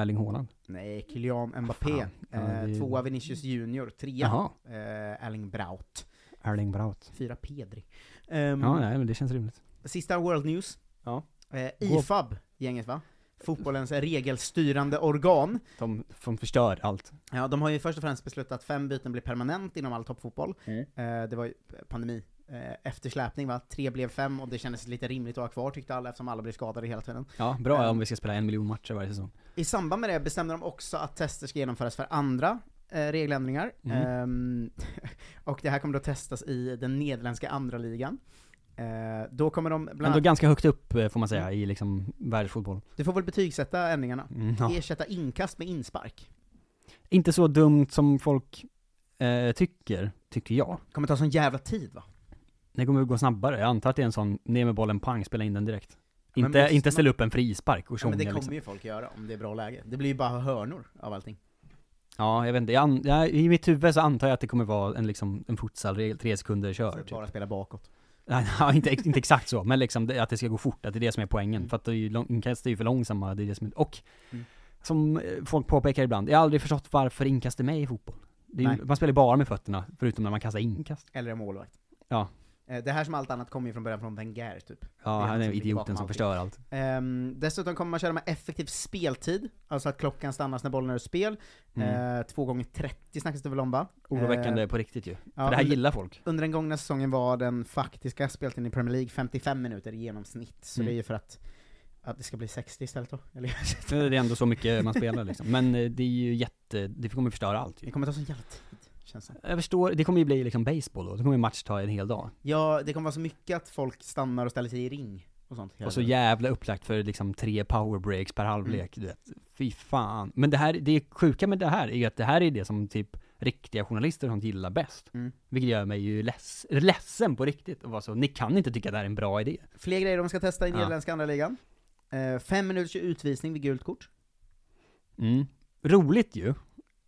[SPEAKER 9] Erling Haaland.
[SPEAKER 4] Nej, Kylian Mbappé.
[SPEAKER 9] Fan, ja, det är
[SPEAKER 4] eh,
[SPEAKER 9] ju-
[SPEAKER 4] tvåa Vinicius Junior, trea
[SPEAKER 9] Jaha,
[SPEAKER 4] eh, Erling Braut,
[SPEAKER 9] Erling Braut.
[SPEAKER 4] fyra Pedri. Ehm,
[SPEAKER 9] Ja, nej men det känns rimligt.
[SPEAKER 4] Sista World News.
[SPEAKER 9] Ja.
[SPEAKER 4] Eh, IFAB, gänget va? Fotbollens regelstyrande organ.
[SPEAKER 9] De, de förstör allt.
[SPEAKER 4] Ja, de har ju först och främst beslutat att fem byten blir permanent inom all toppfotboll.
[SPEAKER 9] Mm.
[SPEAKER 4] Eh, det var ju pandemi. Eh, eftersläpning va? Tre blev fem och det kändes lite rimligt att ha kvar tyckte alla eftersom alla blev skadade hela tiden.
[SPEAKER 9] Ja, bra
[SPEAKER 4] Eh.
[SPEAKER 9] om vi ska spela en miljon matcher varje säsong.
[SPEAKER 4] I samband med det bestämde de också att tester ska genomföras för andra eh, regeländringar.
[SPEAKER 9] Mm.
[SPEAKER 4] Ehm, och det här kommer då testas i den nederländska andra ligan. Eh, då kommer de bland
[SPEAKER 9] Ändå
[SPEAKER 4] annat, Mm.
[SPEAKER 9] ganska högt upp eh, får man säga i liksom världsfotboll.
[SPEAKER 4] du får väl betygsätta ändringarna?
[SPEAKER 9] Mm, ja.
[SPEAKER 4] Ersätta inkast med inspark.
[SPEAKER 9] Inte så dumt som folk eh, tycker, tycker jag.
[SPEAKER 4] Kommer ta sån jävla tid va?
[SPEAKER 9] Det kommer att gå snabbare. Jag antar att det är en sån, ner med bollen, pang, spela in den direkt.
[SPEAKER 4] Men
[SPEAKER 9] Inte,
[SPEAKER 4] måste
[SPEAKER 9] inte
[SPEAKER 4] man-
[SPEAKER 9] ställa upp en frispark och
[SPEAKER 4] Ja,
[SPEAKER 9] tjonga
[SPEAKER 4] men det kommer
[SPEAKER 9] liksom.
[SPEAKER 4] ju folk göra om det är bra läge. Det blir ju bara hörnor av allting.
[SPEAKER 9] Ja, jag vet inte. Jag an, jag, I mitt huvud så antar jag att det kommer vara en liksom, en futsalregel, tre sekunder kör.
[SPEAKER 4] Så att
[SPEAKER 9] typ.
[SPEAKER 4] bara spela bakåt.
[SPEAKER 9] Nej, nej, inte, ex- inte exakt så, men liksom det, att det ska gå fort, att det är det som är poängen. För att det är ju lång- inkast är ju för långsamma, det är det som är, och
[SPEAKER 4] Mm.
[SPEAKER 9] som eh, folk påpekar ibland, jag har aldrig förstått varför inkast är med i fotboll. Det är
[SPEAKER 4] Nej.
[SPEAKER 9] ju, man spelar ju bara med fötterna, förutom när man kastar inkast.
[SPEAKER 4] Eller en målvakt.
[SPEAKER 9] Ja.
[SPEAKER 4] Eh, Det här som allt annat kommer ju från början från Wenger typ. Det
[SPEAKER 9] Ja,
[SPEAKER 4] är
[SPEAKER 9] han är
[SPEAKER 4] han som ligger
[SPEAKER 9] idioten
[SPEAKER 4] bakom
[SPEAKER 9] som
[SPEAKER 4] allting.
[SPEAKER 9] förstör allt.
[SPEAKER 4] Ehm, dessutom kommer man köra med effektiv speltid, alltså att klockan stannas när bollen är ur spel.
[SPEAKER 9] Mm.
[SPEAKER 4] Eh, 2 gånger 30 snackas det väl om va?
[SPEAKER 9] Oroväckande
[SPEAKER 4] Eh,
[SPEAKER 9] på riktigt ju.
[SPEAKER 4] ja,
[SPEAKER 9] för det här
[SPEAKER 4] under-
[SPEAKER 9] gillar folk.
[SPEAKER 4] Under den gångna säsongen var den faktiska speltiden i Premier League 55 minuter i genomsnitt, så
[SPEAKER 9] Mm.
[SPEAKER 4] det är ju för att Att det ska bli 60 istället då? Eller?
[SPEAKER 9] Det är ändå så mycket man spelar liksom. Men eh, det är ju jätte, det kommer förstöra allt ju.
[SPEAKER 4] Det kommer ta sån jävla tid, känns det
[SPEAKER 9] Jag förstår, det kommer ju bli liksom baseball då. Det kommer ju match ta en hel dag.
[SPEAKER 4] Ja, det kommer vara så mycket att folk stannar och ställer sig i ring och sånt. hela
[SPEAKER 9] Och så
[SPEAKER 4] tiden.
[SPEAKER 9] jävla upplagt för liksom tre powerbreaks per halvlek, du vet. Fy fan. Men det här, det sjuka med det här är ju att det här är det som typ riktiga journalister som gillar bäst.
[SPEAKER 4] Mm.
[SPEAKER 9] Vilket gör mig ju less, ledsen på riktigt och vara så, ni kan inte tycka det här är en bra idé.
[SPEAKER 4] Fler grejer de ska testa i
[SPEAKER 9] Ja.
[SPEAKER 4] nederländska andra ligan. Eh, fem minuters utvisning vid gult kort.
[SPEAKER 9] Mm. Roligt ju,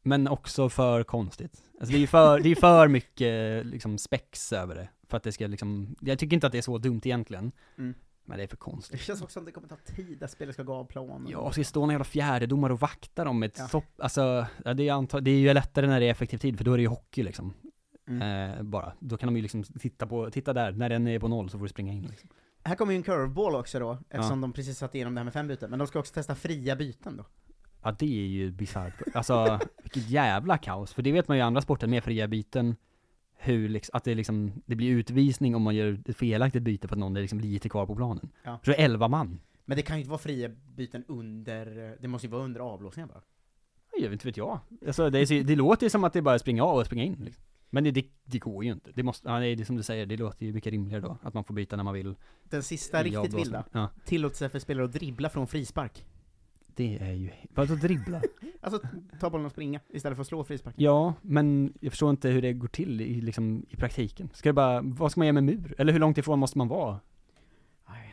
[SPEAKER 9] men också för konstigt. Alltså det är ju för, det är för mycket liksom spex över det. För att det ska liksom, jag tycker inte att det är så dumt egentligen.
[SPEAKER 4] Mm.
[SPEAKER 9] Men det är för
[SPEAKER 4] Det
[SPEAKER 9] konstigt.
[SPEAKER 4] känns också som det kommer ta tid att spelet ska gå av planen.
[SPEAKER 9] Ja, och så står någon jävla fjärdedomare och vaktar dem med ett
[SPEAKER 4] Ja.
[SPEAKER 9] stopp, alltså, ja, det, är anta- det är ju lättare när det är effektiv tid, för då är det ju hockey liksom.
[SPEAKER 4] Mm.
[SPEAKER 9] Eh, bara. Då kan de ju liksom titta på, titta där, när den är på noll så får du springa in liksom.
[SPEAKER 4] Här kommer ju en curveball också då, eftersom de precis satt igenom det här med fem byten. Men de ska också testa fria byten då.
[SPEAKER 9] Ja det är ju bisarrt. Alltså, vilket jävla kaos. För det vet man ju i andra sporter med fria byten, hur liksom, att det liksom, det blir utvisning om man gör ett felaktigt byte för att någon är liksom lite kvar på planen.
[SPEAKER 4] Ja.
[SPEAKER 9] Så det är elva man.
[SPEAKER 4] Men det kan ju inte vara fria byten under, det måste ju vara under avblåsningen bara.
[SPEAKER 9] Jag vet inte vet jag. Alltså, det, är, så- det låter ju som att det är bara att springa av och springa in liksom. Men det, det, det går ju inte. Det måste, ja, det är det som du säger, det låter ju mycket rimligare då. Att man får byta när man vill.
[SPEAKER 4] Den sista
[SPEAKER 9] i
[SPEAKER 4] riktigt
[SPEAKER 9] avblåsning.
[SPEAKER 4] vilda,
[SPEAKER 9] Ja,
[SPEAKER 4] tillåtelse för spelare att dribbla från frispark.
[SPEAKER 9] det är ju, vadå dribbla?
[SPEAKER 4] Alltså ta bollen och springa istället för att slå frisparken.
[SPEAKER 9] Ja, men jag förstår inte hur det går till i, liksom, i praktiken. Ska det bara, vad ska man göra med mur? Eller hur långt ifrån måste man vara?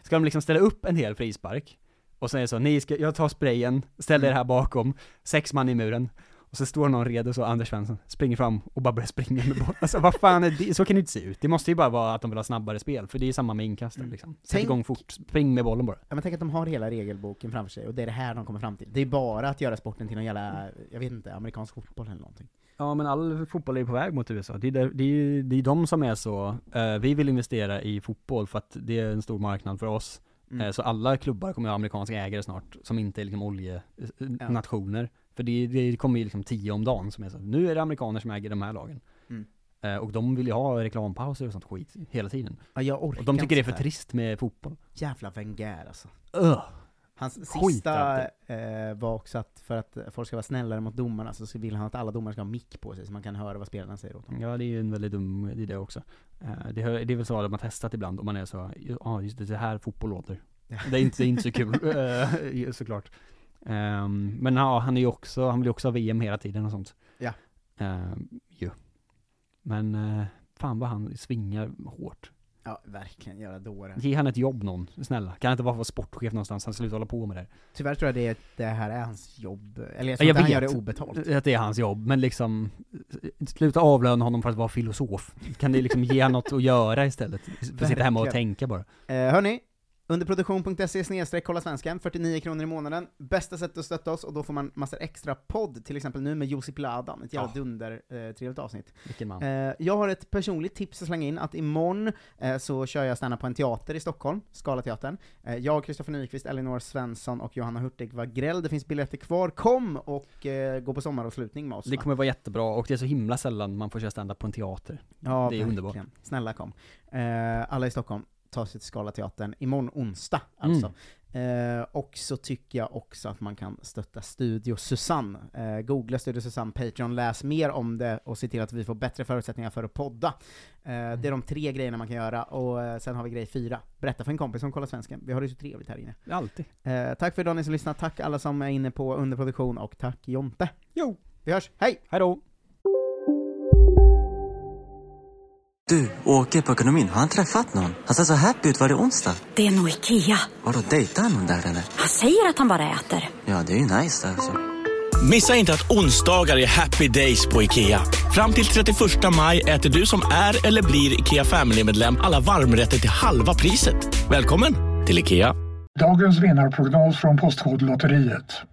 [SPEAKER 9] Ska de liksom ställa upp en hel frispark? Och sen är det så, ni ska, jag tar sprayen, ställer er här bakom, sex man i muren. Och så står någon redo så, Anders Svensson, springer fram och bara börjar springa med bollen. Alltså vad fan är det? Så kan det inte se ut. Det måste ju bara vara att de vill ha snabbare spel, för det är ju samma med inkasten liksom. Sätt
[SPEAKER 4] Tänk-
[SPEAKER 9] igång fort, spring med bollen bara.
[SPEAKER 4] Ja, men tänk att de har hela regelboken framför sig, och det är det här de kommer fram till. Det är bara att göra sporten till någon jävla, jag vet inte, amerikansk fotboll eller någonting.
[SPEAKER 9] Ja men all fotboll är ju på väg mot USA. Det är, där, det är, ju- det är de som är så, eh, vi vill investera i fotboll för att det är en stor marknad för oss.
[SPEAKER 4] Mm.
[SPEAKER 9] Eh, så alla klubbar kommer att ha amerikanska ägare snart, som inte är liksom
[SPEAKER 4] Ja.
[SPEAKER 9] oljenationer. För det, det kommer ju liksom tio om dagen som är så, nu är det amerikaner som äger de här lagen.
[SPEAKER 4] Mm.
[SPEAKER 9] Eh, och de vill ju ha reklampauser och sånt skit hela tiden.
[SPEAKER 4] Ja, jag orkar
[SPEAKER 9] Och de
[SPEAKER 4] inte
[SPEAKER 9] tycker det är
[SPEAKER 4] så
[SPEAKER 9] för
[SPEAKER 4] här.
[SPEAKER 9] trist med fotboll.
[SPEAKER 4] Jävla Wenger alltså.
[SPEAKER 9] Ugh.
[SPEAKER 4] Hans
[SPEAKER 9] Skit
[SPEAKER 4] sista
[SPEAKER 9] alltid.
[SPEAKER 4] eh, var också att för att folk ska vara snällare mot domarna så vill han att alla domare ska ha mick på sig så man kan höra vad spelarna säger åt dem.
[SPEAKER 9] Ja, det är ju en väldigt dum idé också. Eh, Det, hör- det är väl så att man har testat ibland, om man är så, ja just det, det här fotboll låter. Det är inte, det är inte så kul, eh, såklart. Ehm, men ja, han är ju också, han vill ju också ha VM hela tiden och sånt.
[SPEAKER 4] Ja.
[SPEAKER 9] Ehm, ju. Men eh, fan vad han svingar hårt.
[SPEAKER 4] Ja, verkligen. Göra dårar.
[SPEAKER 9] Ge han ett jobb någon, snälla. Kan han inte bara vara sportchef någonstans, han slutar hålla på med det här.
[SPEAKER 4] Tyvärr tror jag det, är- det här är hans jobb, eller jag tror inte han gör det obetalt.
[SPEAKER 9] att det är hans jobb, men liksom sluta avlöna honom för att vara filosof. Kan ni liksom ge honom något att göra istället? För att sitta hemma och
[SPEAKER 4] Verkligen.
[SPEAKER 9] tänka bara.
[SPEAKER 4] Eh, hörni, underproduktion.se snedstreck kolla svenskan, 49 kronor i månaden. Bästa sättet att stötta oss och då får man massor extra podd, till exempel nu med Josip Ladan, ett jävla
[SPEAKER 9] Ja.
[SPEAKER 4] dunder eh, trevligt avsnitt.
[SPEAKER 9] Vilken man.
[SPEAKER 4] Eh, jag har ett personligt tips att slänga in, att imorgon eh, så kör jag stanna på en teater i Stockholm, Scalateatern. Eh, jag, Kristoffer Nyqvist, Elinor Svensson och Johanna Hurtig var gräll, det finns biljetter kvar. Kom och eh, gå på sommaravslutning med oss.
[SPEAKER 9] Det
[SPEAKER 4] va?
[SPEAKER 9] kommer vara jättebra och det är så himla sällan man får köra stand-up på en teater.
[SPEAKER 4] Ja,
[SPEAKER 9] Det är underbart.
[SPEAKER 4] Snälla kom. Eh, alla i Stockholm, ta sig till Scalateatern imorgon onsdag
[SPEAKER 9] Mm.
[SPEAKER 4] alltså. Eh, och så tycker jag också att man kan stötta Studio Susanne. Eh, googla Studio Susanne, Patreon, läs mer om det och se till att vi får bättre förutsättningar för att podda. Eh,
[SPEAKER 9] Mm.
[SPEAKER 4] Det är de tre grejerna man kan göra, och eh, sen har vi grej fyra. Berätta för en kompis som kollar svensken. Vi har det så trevligt här inne.
[SPEAKER 9] Alltid.
[SPEAKER 4] Eh, tack för idag ni som lyssnar, tack alla som är inne på underproduktion, och tack Jonte. Jo! Vi hörs, hej!
[SPEAKER 9] Hejdå!
[SPEAKER 12] Du, åker på ekonomin. Har han träffat någon? Han ser så happy ut. Var det onsdag?
[SPEAKER 13] Det är nog Ikea.
[SPEAKER 12] Vadå, dejtar han någon där eller?
[SPEAKER 13] Han säger att han bara äter.
[SPEAKER 12] Ja, det är ju nice alltså.
[SPEAKER 14] Missa inte att onsdagar är happy days på IKEA. Fram till 31 maj äter du som är eller blir IKEA Family-medlem alla varmrätter till halva priset. Välkommen till IKEA.
[SPEAKER 6] Dagens vinnarprognos från Postkodlotteriet.